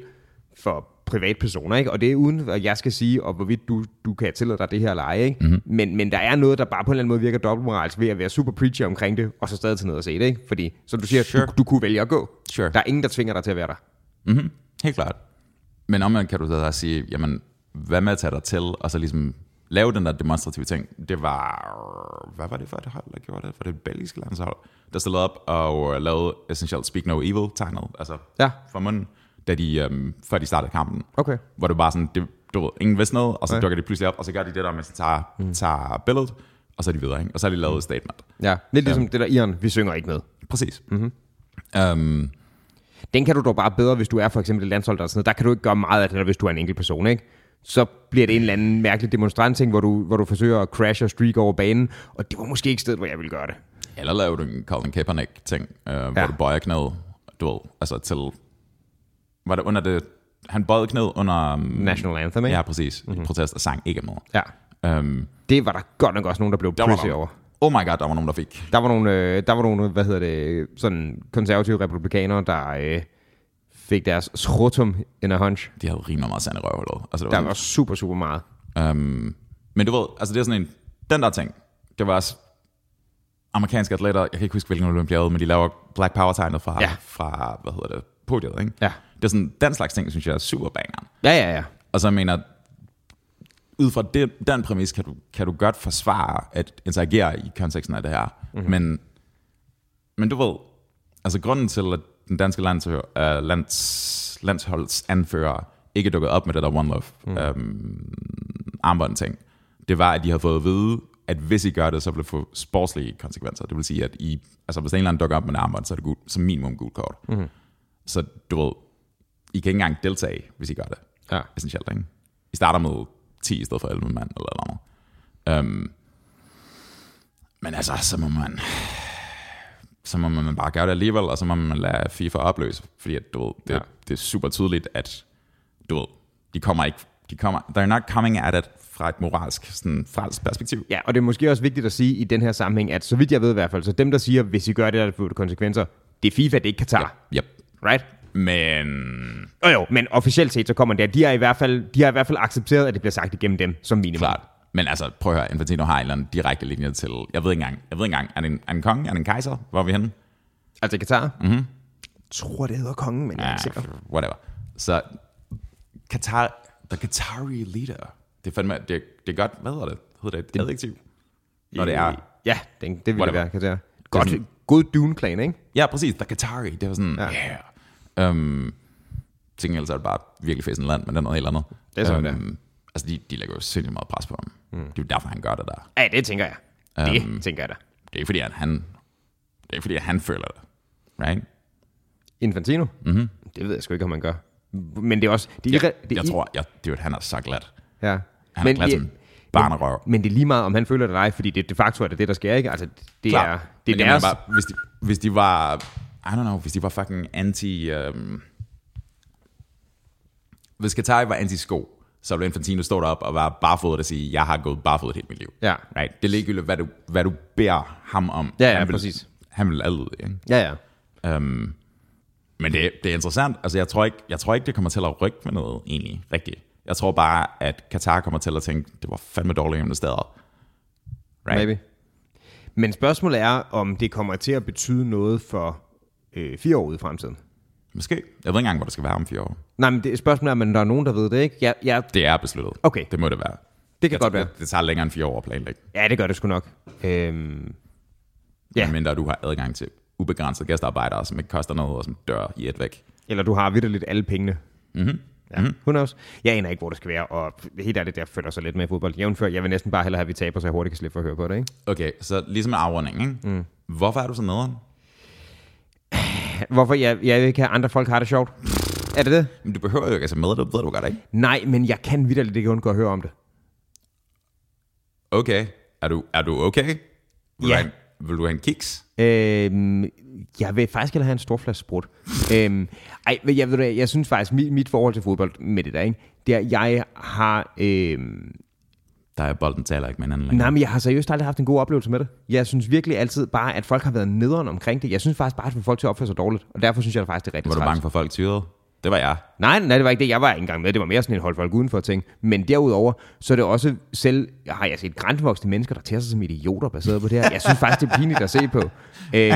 Speaker 2: for privatpersoner, ikke? Og det er uden, at jeg skal sige, og hvorvidt du, du kan tillade dig det her eller ej, ikke?
Speaker 1: Mhm.
Speaker 2: Mm-hmm. Men, men der er noget, der bare på en eller anden måde virker dobbeltmoralsk ved at være super preacher omkring det, og så stadig til noget at se det, ikke? Fordi, som du siger, sure.
Speaker 1: Sure.
Speaker 2: du, du kunne vælge at gå.
Speaker 1: Sure.
Speaker 2: Der er ingen, der tvinger dig til at være der.
Speaker 1: Mm-hmm. Helt klart. Men omvendt kan du da også sige, jamen, hvad med at tage dig til, og så ligesom lave den der demonstrative ting. Det var, hvad var det for et hold, der gjorde det? Var det et belgisk landshold, der stillede op og øh, lavede essentielt Speak No Evil tegnet, altså
Speaker 2: Ja.
Speaker 1: for munden, da de, øhm, før de startede kampen.
Speaker 2: Okay.
Speaker 1: Hvor det bare sådan, det, du ved, ingen vidste noget, og så
Speaker 2: Nej.
Speaker 1: okay. dukker de pludselig op, og så gør de det der, mens de tager, mm. tager billedet, og så er de videre, ikke? og så har de lavet et statement.
Speaker 2: Ja, lidt ligesom det der Iren, vi synger ikke med.
Speaker 1: Præcis. Mm-hmm. Øhm,
Speaker 2: Den kan du dog bare bedre, hvis du er for eksempel et landshold eller sådan noget. Der kan du ikke gøre meget af det, der, hvis du er en enkelt person, ikke? Så bliver det en eller anden mærkelig demonstrantting, hvor du, hvor du forsøger at crash og streak over banen, og det var måske ikke stedet, hvor jeg ville gøre det.
Speaker 1: Eller laver du en Colin Kaepernick-ting, øh, ja.
Speaker 2: Ja.
Speaker 1: hvor du bøjer knæet, du ved, altså til... Var det under det... Han bøjede knæet under... Um,
Speaker 2: National Anthem, ikke?
Speaker 1: Ja, præcis.
Speaker 2: Mhm.
Speaker 1: Mm-hmm. I protest og sang ikke med.
Speaker 2: ja.
Speaker 1: Um,
Speaker 2: Det var der godt nok også nogen, der blev
Speaker 1: der var
Speaker 2: prissy over.
Speaker 1: nogen, oh my god, der var nogen, der fik.
Speaker 2: Der var nogle, øh, der var nogle hvad hedder det, sådan konservative republikanere, der øh, fik deres schrotum in a hunch.
Speaker 1: De havde rimelig meget sand i røvhullet. Altså, det
Speaker 2: Der
Speaker 1: var
Speaker 2: var super, super meget.
Speaker 1: sådan, um, men du ved, altså det er sådan en... Den der ting, det var også amerikanske atleter, jeg kan ikke huske, hvilken olympiade, men de laver Black Power-tegnet fra,
Speaker 2: Ja.
Speaker 1: ja. fra, hvad hedder det, podiet, ikke?
Speaker 2: Ja.
Speaker 1: Det er sådan, den slags ting, synes jeg er super bangeren.
Speaker 2: Ja, ja, ja.
Speaker 1: Og så jeg mener, ud fra den, den præmis, kan du, kan du godt forsvare at interagere i konteksten af det her. Mm-hmm. Men, men du ved, altså grunden til, at den danske lands, uh, lands, landsholds anfører ikke dukkede op med det der One Love mm. øhm, armbånd ting, det var, at de havde fået at vide, at hvis I gør det, så vil det få sportslige konsekvenser. Det vil sige, at I, altså hvis en eller anden dukker op med en armbånd, så er det gul, som minimum gult kort. Mm. Så du ved, I kan ikke engang deltage, hvis I gør det
Speaker 2: ja.
Speaker 1: essentielt, ikke? I starter med 10 i stedet for 11 mand, eller noget. Øhm, men altså, så må man så må man bare gøre det alligevel, og så må man lade FIFA opløse, fordi at, du ved, det,
Speaker 2: Ja.
Speaker 1: ja. det er super tydeligt, at du ved, de kommer ikke, de kommer, they're not coming at it fra et moralsk, sådan frelst perspektiv.
Speaker 2: Ja, og det er måske også vigtigt at sige i den her sammenhæng, at så vidt jeg ved i hvert fald, så dem, der siger, hvis I gør det, der får det konsekvenser, det er FIFA, det er ikke Katar.
Speaker 1: Yep.
Speaker 2: Right?
Speaker 1: Men
Speaker 2: Jo jo, men officielt set, så kommer det. De har i hvert fald, de har i hvert fald accepteret, at det bliver sagt igennem dem som minimum.
Speaker 1: Klart. Men altså, prøv at høre, Infantino har en eller anden direkte linje til, jeg ved ikke engang, jeg ved ikke engang, er det en, er det en konge, er det en kejser, hvor er vi henne?
Speaker 2: Altså Katar? Mm-hmm. Jeg tror, det hedder kongen, men jeg er ikke sikker.
Speaker 1: Ah, Whatever. Så Qatar, the Qatari leader, det er fandme, det, det er godt, hvad hedder det? Hedder det et adjektiv? Når det er,
Speaker 2: Ja, det, det vil det
Speaker 1: Whatever.
Speaker 2: være, Katar. Godt,
Speaker 1: sådan-
Speaker 2: god Dune-plan, ikke?
Speaker 1: ja præcis, the Qatari, det var sådan, ja. Yeah. Um, tænker ellers er det bare virkelig fæsen land, men det er noget helt andet.
Speaker 2: Det er sådan, det
Speaker 1: Altså, de, de lægger jo sindssygt meget pres på ham. Mm. Det er jo derfor, han gør det der.
Speaker 2: Ja, det tænker jeg. Det tænker jeg da.
Speaker 1: Det er ikke fordi, at han, det er ikke fordi, at han føler det. Right?
Speaker 2: Mhm. Infantino? Mm-hmm. Det ved jeg sgu ikke, om man gør. Men det er også... Det er
Speaker 1: Jeg,
Speaker 2: irre- det
Speaker 1: det,
Speaker 2: er
Speaker 1: jeg
Speaker 2: ir-
Speaker 1: tror, jeg, det er jo, han er så glad.
Speaker 2: Ja.
Speaker 1: Han er glad
Speaker 2: det-
Speaker 1: som barnerøv.
Speaker 2: Men det er lige meget, om han føler det eller ej, fordi det de facto er det det, der sker, ikke? Altså, det
Speaker 1: Klar.
Speaker 2: er,
Speaker 1: Men
Speaker 2: det
Speaker 1: jeg
Speaker 2: er deres...
Speaker 1: mener Bare, hvis, de, hvis de var, I don't know, hvis de var fucking anti... Øhm, hvis Katar var anti-sko, så ville Infantino stå derop og være barfodet og sige, jeg har gået barfodet hele mit liv.
Speaker 2: Ja.
Speaker 1: Right? Det er ligegyldigt, hvad du, hvad du beder ham om.
Speaker 2: Ja, ja,
Speaker 1: han vil,
Speaker 2: præcis.
Speaker 1: Han vil altid, ikke?
Speaker 2: Ja, ja.
Speaker 1: Øhm, men det, det er interessant. Altså, jeg tror, ikke, jeg tror ikke, det kommer til at rykke med noget, egentlig. Rigtigt. Jeg tror bare, at Katar kommer til at tænke, det var fandme dårligt investeret. Right?
Speaker 2: Maybe. Men spørgsmålet er, om det kommer til at betyde noget for øh, fire år ude i fremtiden.
Speaker 1: Måske. Jeg ved ikke engang, hvor det skal være om fire år.
Speaker 2: Nej, men det, spørgsmålet er, men der er nogen, der ved det, ikke? Jeg, jeg,
Speaker 1: Det er besluttet.
Speaker 2: Okay.
Speaker 1: Det må det være.
Speaker 2: det kan
Speaker 1: Jeg
Speaker 2: godt
Speaker 1: tror,
Speaker 2: være.
Speaker 1: Det, det tager længere end fire år at planlægge.
Speaker 2: Ja, det gør det sgu nok. Øhm, Ja.
Speaker 1: Ja. Mindre du har adgang til ubegrænset gæstearbejdere, som ikke koster noget, og som dør i et væk.
Speaker 2: eller du har vidderligt alle pengene. Mm-hmm.
Speaker 1: Mhm.
Speaker 2: Ja, who knows? Jeg aner ikke, hvor det skal være, og helt ærligt, jeg føler så lidt med i fodbold. Jævnfør, jeg vil næsten bare hellere have, at vi taber, så jeg hurtigt kan slippe for at høre på det, ikke?
Speaker 1: Okay, så ligesom en afrunding, ikke? Mm. Hvorfor er du så nederen?
Speaker 2: Hvorfor jeg, jeg vil ikke have, at andre folk har det sjovt? Er det det?
Speaker 1: Men du behøver jo ikke at se med, det ved du godt, ikke?
Speaker 2: Nej, men jeg kan vidderligt ikke undgå at høre om det.
Speaker 1: Okay. Er du, er du okay? Vil,
Speaker 2: Ja.
Speaker 1: du have, en- vil du have en kiks?
Speaker 2: Øhm, jeg vil faktisk hellere have en stor flaske sprut. øhm, ej, men jeg, ved du hvad, jeg synes faktisk, mit, mit forhold til fodbold med det der, ikke? det er, jeg har... Øhm,
Speaker 1: Der er bolden taler ikke med hinanden længere.
Speaker 2: nej, men jeg har seriøst aldrig haft en god oplevelse med det. Jeg synes virkelig altid bare, at folk har været nederen omkring det. Jeg synes faktisk bare, at folk til at opføre sig dårligt. Og derfor synes jeg faktisk, det er rigtig
Speaker 1: Var du
Speaker 2: træls.
Speaker 1: bange for at folk tyrede? Det var jeg.
Speaker 2: Nej, nej, det var ikke det. Jeg var ikke engang med. Det var mere sådan en hold folk udenfor ting. Men derudover, så er det også selv, har jeg set grænsevoksne mennesker, der tager sig som idioter baseret på det her. Jeg synes faktisk, det er pinligt at se på. Øh,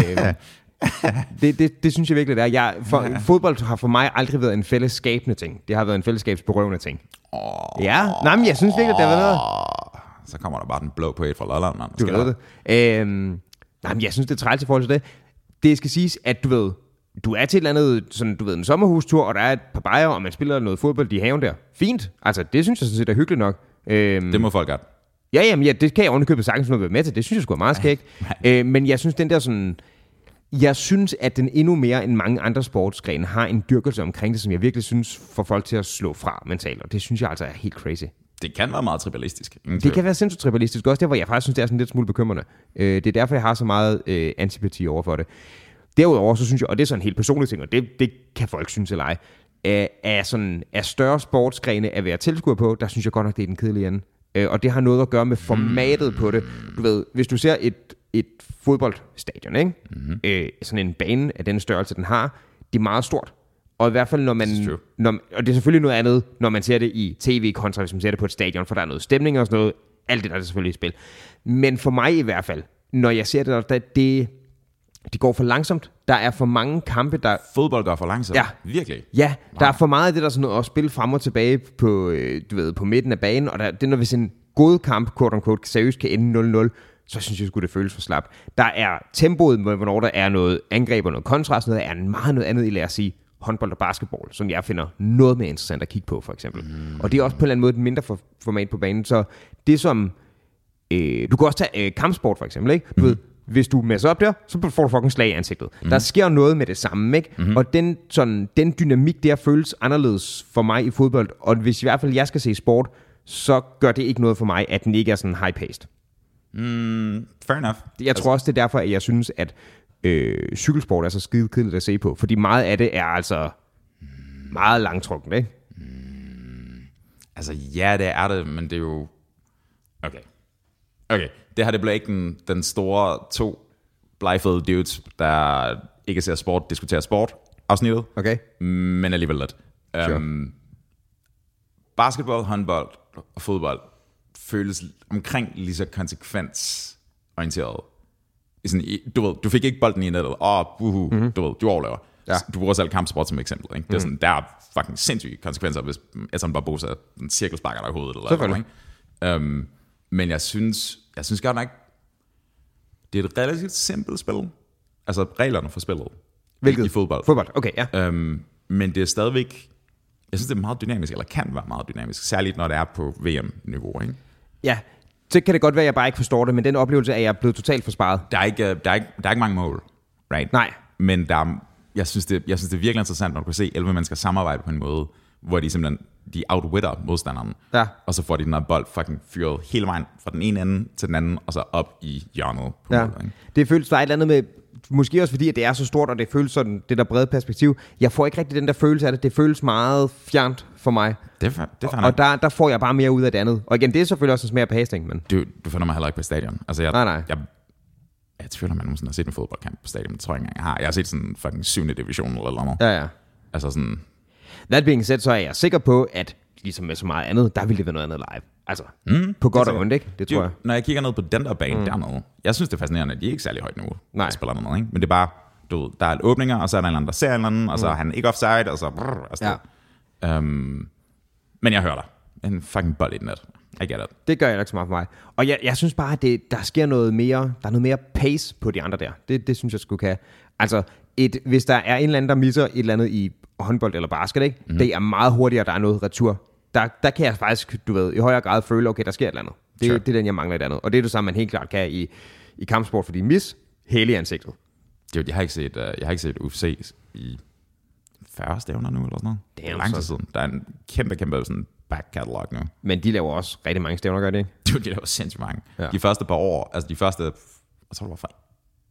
Speaker 2: det, det, det, synes jeg virkelig, det er. Jeg, for, ja. Fodbold har for mig aldrig været en fællesskabende ting. Det har været en fællesskabsberøvende ting. Oh. Ja, nej, men jeg synes virkelig, det har været noget.
Speaker 1: Så kommer der bare den blå på et fra Lolland, mand.
Speaker 2: Du ved det. Øhm, nej, men jeg synes, det er træls i forhold til det. Det skal siges, at du ved, du er til et eller andet, sådan, du ved, en sommerhustur, og der er et par bajer, og man spiller noget fodbold i haven der. Fint. Altså, det synes jeg sådan set er hyggeligt nok. Øhm,
Speaker 1: Det må folk godt.
Speaker 2: ja, jamen, ja, det kan jeg ovenikøbet sagtens nå at være med til. Det synes jeg sgu er meget skægt. øh, men jeg synes, den der sådan... Jeg synes, at den endnu mere end mange andre sportsgrene har en dyrkelse omkring det, som jeg virkelig synes får folk til at slå fra mentalt, og det synes jeg altså er helt crazy.
Speaker 1: Det kan være meget tribalistisk. Ingen
Speaker 2: Det
Speaker 1: tvivl.
Speaker 2: kan være sindssygt tribalistisk, også der, hvor jeg faktisk synes, det er sådan lidt smule bekymrende. Øh, det er derfor, jeg har så meget øh, antipati over for det. Derudover, så synes jeg, og det er sådan en helt personlig ting, og det, det kan folk synes eller ej, øh, af, sådan, af større sportsgrene at være tilskuer på, der synes jeg godt nok, det er den kedelige ende. Øh, og det har noget at gøre med formatet på det. Du ved, hvis du ser et, et fodboldstadion, ikke? Mm-hmm. Øh, sådan en bane af den størrelse, den har, det er meget stort. Og i hvert fald, når man,
Speaker 1: It's true.
Speaker 2: når, og det er selvfølgelig noget andet, når man ser det i tv, kontra hvis man ser det på et stadion, for der er noget stemning og sådan noget. Alt det der er det selvfølgelig i spil. Men for mig i hvert fald, når jeg ser det, der, det, det går for langsomt. Der er for mange kampe, der...
Speaker 1: Fodbold går for langsomt.
Speaker 2: Ja.
Speaker 1: Virkelig.
Speaker 2: Ja, der er for meget af det, der er sådan noget at spille frem og tilbage på, øh, du ved, på midten af banen, og der, det er, når hvis en god kamp, quote unquote, seriøst kan ende 0-0, så synes jeg sgu, det føles for slap. Der er tempoet med, hvornår der er noget angreb og noget kontra, og sådan noget, er meget noget andet i, lad os sige, håndbold og basketball, som jeg finder noget mere interessant at kigge på, for eksempel. Mm. Og det er også på en eller anden måde et mindre for, format på banen, så det som Øh, du kan også tage øh, kampsport for eksempel, ikke? Du mm. ved, hvis du masser op der, så får du fucking slag i ansigtet. Mm. Der sker noget med det samme, ikke? Mm. Og den, sådan, den dynamik der føles anderledes for mig i fodbold. Og hvis i hvert fald jeg skal se sport, så gør det ikke noget for mig, at den ikke er sådan high-paced.
Speaker 1: Mm, Fair enough.
Speaker 2: Jeg tror også, det er derfor, at jeg synes, at øh, cykelsport er så skide kedeligt at se på. Fordi meget af det er altså meget langtrukken, ikke?
Speaker 1: Altså, ja, det er det, men det er jo... Okay. Okay, det her det bliver ikke den, den store to blegfede dudes, der ikke ser sport, diskuterer sport afsnittet,
Speaker 2: Okay.
Speaker 1: men alligevel lidt.
Speaker 2: Sure.
Speaker 1: Um, basketball, håndbold og fodbold føles omkring lige så konsekvensorienteret. I Sådan, i- du ved, du fik ikke bolden i nettet, og buhu, mm-hmm. du ved, du overlever.
Speaker 2: Mhm. Ja. Mhm.
Speaker 1: Ja. Du bruger selv kampsport som eksempel. Ikke? Det er sådan, der er fucking sindssyge konsekvenser, hvis Edson Barbosa en cirkelsparker dig i hovedet. Eller
Speaker 2: Selvfølgelig.
Speaker 1: Noget, ikke? Um, men jeg synes, jeg synes godt nok, det er et relativt simpelt spil. Altså reglerne for spillet.
Speaker 2: Hvilket?
Speaker 1: I fodbold.
Speaker 2: Fodbold, okay, ja.
Speaker 1: Øhm, men det er stadigvæk, jeg synes, det er meget dynamisk, eller kan være meget dynamisk, særligt når det er på VM-niveau. Ikke?
Speaker 2: Ja, så kan det godt være, at jeg bare ikke forstår det, men den oplevelse er jeg blevet totalt forsparet.
Speaker 1: Der, er ikke, øh, der, er ikke, der er ikke mange mål, right?
Speaker 2: Nej.
Speaker 1: Men der er, jeg synes, det, jeg synes, det er virkelig interessant, når du kan se 11 mennesker samarbejde på en måde, hvor de simpelthen de outwitter modstanderen.
Speaker 2: Ja.
Speaker 1: Og så får de den her bold fucking fyret hele vejen fra den ene ende til den anden, og så op i hjørnet på
Speaker 2: Ja.
Speaker 1: ja. målet, ikke?
Speaker 2: Det føles, der er et eller andet med, måske også fordi, at det er så stort, og det føles sådan, det der brede perspektiv. Jeg får ikke rigtig den der følelse af det. Det føles meget fjernt for mig.
Speaker 1: Det er, fa- det er fair nok.
Speaker 2: Og der, der får jeg bare mere ud af det andet. Og igen, det er selvfølgelig også en smag af pasning, men
Speaker 1: du, du finder mig heller ikke på stadion. Altså, jeg,
Speaker 2: Nej, nej.
Speaker 1: Jeg, jeg tvivler, om jeg nogensinde har set en fodboldkamp på stadion. Det tror jeg ikke engang, jeg har. Jeg har set sådan fucking 7. division eller noget. Ja.
Speaker 2: ja, ja.
Speaker 1: Altså sådan,
Speaker 2: That being said, så er jeg sikker på, at ligesom med så meget andet, der ville det være noget andet live. Altså, mm, på godt og ondt, ikke? Det tror jeg.
Speaker 1: Dude, når jeg kigger ned på den der bane mm. dernede, jeg synes, det er fascinerende, at de er ikke særlig højt nu,
Speaker 2: Nej.
Speaker 1: der spiller dernede, ikke? Men det er bare, du ved, der er et åbninger, og så er der en eller anden, der ser en eller anden, og
Speaker 2: Mm.
Speaker 1: så er han ikke offside, og så... Brrr, og sådan ja. øhm, men jeg hører dig. En fucking bold i den net. I get it.
Speaker 2: Det gør jeg nok så meget for mig. Og jeg, jeg synes bare, at det, der sker noget mere, der er noget mere pace på de andre der. Det, det synes jeg skulle kan. Altså, et, hvis der er en eller anden, der misser et eller andet i håndbold eller basket, ikke? Mm. det er meget hurtigere, der er noget retur. Der, der kan jeg faktisk, du ved, i højere grad føle, okay, der sker et eller andet. Det,
Speaker 1: Sure.
Speaker 2: det er den, jeg mangler et andet. Og det er det samme, man helt klart kan i, i kampsport, fordi mis, hele i ansigtet.
Speaker 1: Dude, jeg har ikke set, uh, jeg har ikke set UFC i 40 stævner nu, eller sådan noget. Det
Speaker 2: Damn,
Speaker 1: er lang tid
Speaker 2: så-
Speaker 1: siden. Der er en kæmpe, kæmpe sådan back catalog nu.
Speaker 2: Men de laver også rigtig mange stævner, gør det ikke?
Speaker 1: Dude, de laver sindssygt mange.
Speaker 2: Ja.
Speaker 1: Ja. De første par år, altså de første, jeg tror det var fra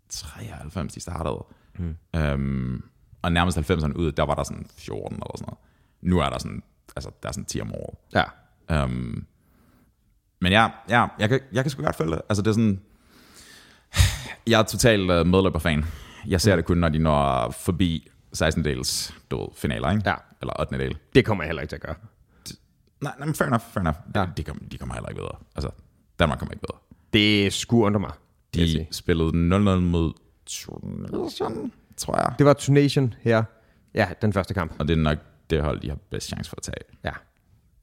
Speaker 1: 93, de startede. Mm. Øhm, og nærmest 90'erne ud, der var der sådan 14 eller sådan noget. Nu er der sådan, altså der er sådan 10 om året.
Speaker 2: Ja.
Speaker 1: Øhm, men ja, ja jeg, kan, jeg kan sgu godt følge det. Altså det er sådan, jeg er totalt øh, medløberfan. Jeg ser det kun, når de når forbi 16-dels du ved, finaler, ikke?
Speaker 2: Ja.
Speaker 1: Eller 8. del.
Speaker 2: Det kommer jeg heller ikke til at gøre.
Speaker 1: Nej, nej, men fair enough, fair enough.
Speaker 2: Ja.
Speaker 1: Ja. De, de, kommer, de kommer heller ikke videre. Altså, Danmark kommer ikke videre.
Speaker 2: Det skulle undre mig. vil jeg
Speaker 1: De
Speaker 2: sige.
Speaker 1: spillede 0-0 mod Tunesien, tror jeg.
Speaker 2: Det var Tunation her. Ja, den første kamp.
Speaker 1: Og det er nok det hold, de har bedst chance for at tage.
Speaker 2: Ja.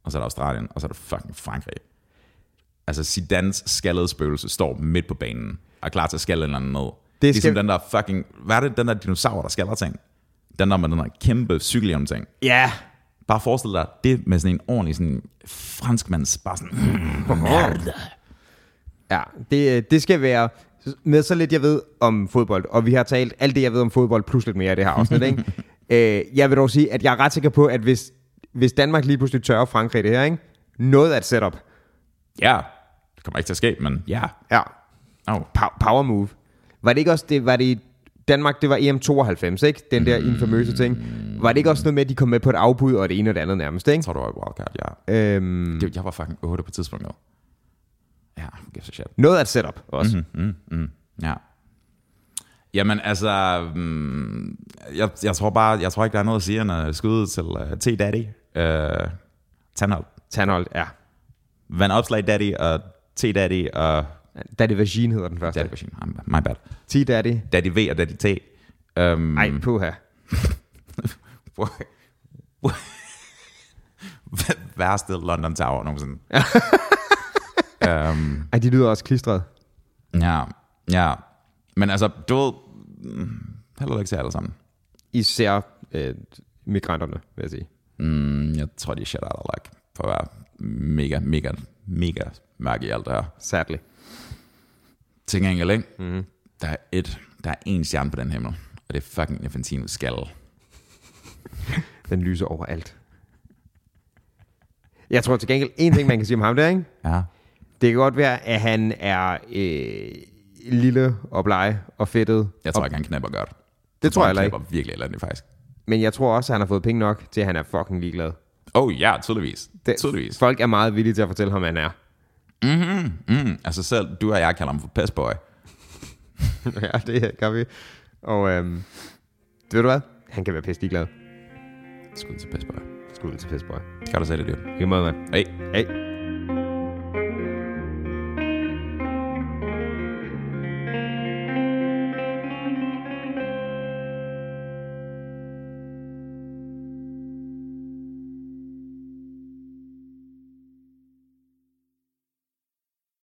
Speaker 1: Og så er der Australien, og så er der fucking Frankrig. Altså Zidans skaldede spøgelse står midt på banen og er klar til at skalle en eller anden ned. Det er ligesom
Speaker 2: skal-
Speaker 1: den der fucking... Hvad er det, den der dinosaur, der skaller ting? Den der med den der kæmpe cykelhjelm ting.
Speaker 2: Ja.
Speaker 1: Bare forestil dig det med sådan en ordentlig sådan franskmands bare sådan... Merde.
Speaker 2: Ja, det, det skal være med så lidt, jeg ved om fodbold. Og vi har talt alt det, jeg ved om fodbold, plus lidt mere i det her afsnit. ikke? Øh, jeg vil dog sige, at jeg er ret sikker på, at hvis, hvis Danmark lige pludselig tørrer Frankrig i det her, ikke? noget af et setup.
Speaker 1: Ja, det kommer ikke til at ske, men ja.
Speaker 2: Ja.
Speaker 1: Oh.
Speaker 2: Pow- power move. Var det ikke også det, var det i Danmark, det var EM92, ikke? Den der infamøse ting. Var det ikke også noget med, at de kom med på et afbud, og det ene og det andet nærmest,
Speaker 1: Jeg
Speaker 2: ikke?
Speaker 1: tror, du var et wildcard, ja.
Speaker 2: Øhm,
Speaker 1: Det, jeg var fucking 8 på tidspunktet. Ja, who gives a shit. Mm,
Speaker 2: noget af et setup også.
Speaker 1: Ja. Jamen altså, mm, jeg, jeg tror bare, jeg tror ikke, der er noget at sige, end at skyde til uh, T-Daddy. Uh, Tandhold.
Speaker 2: Tandholt, ja.
Speaker 1: Van Opslag Daddy og T-Daddy og...
Speaker 2: Daddy Vagine hedder den første.
Speaker 1: Daddy Machine, I'm- my bad.
Speaker 2: T-Daddy.
Speaker 1: Daddy V og Daddy T. Um,
Speaker 2: Ej, puha.
Speaker 1: værste London Tower nogensinde. um,
Speaker 2: Ej, de lyder også klistret.
Speaker 1: ja, ja. Men altså, du ved... mm, Held og lykke til alle sammen.
Speaker 2: Især øh, migranterne, vil jeg sige.
Speaker 1: Mm, jeg tror, de er shit out of luck, for at være mega, mega, mega mærke i alt det her.
Speaker 2: Sadly.
Speaker 1: Til gengæld, ikke?
Speaker 2: Mhm.
Speaker 1: Mm. Der er et, der er en stjerne på den himmel, og det er fucking Infantino skal.
Speaker 2: Den lyser overalt. Jeg tror til gengæld, en ting, man kan sige om ham der, ikke?
Speaker 1: Ja.
Speaker 2: Det kan godt være, at han er øh, lille og bleg og fedtet.
Speaker 1: Jeg tror ikke, han knæpper godt.
Speaker 2: Det tror jeg heller
Speaker 1: han
Speaker 2: ikke.
Speaker 1: knæpper virkelig elendigt, faktisk.
Speaker 2: Men jeg tror også, at han har fået penge nok til, at han er fucking ligeglad.
Speaker 1: Oh ja, tydeligvis. Det, tydeligvis.
Speaker 2: folk er meget villige til at fortælle ham, hvad han er.
Speaker 1: Mm, altså selv du og jeg kalder ham for pestboy.
Speaker 2: ja, det gør vi. Og øhm, ved du hvad? Han kan være pisse ligeglad.
Speaker 1: Skud til pestboy.
Speaker 2: Skud til Pissboy.
Speaker 1: Kan du sige det, du?
Speaker 2: I lige måde, mand.
Speaker 1: Hey.
Speaker 2: Hey.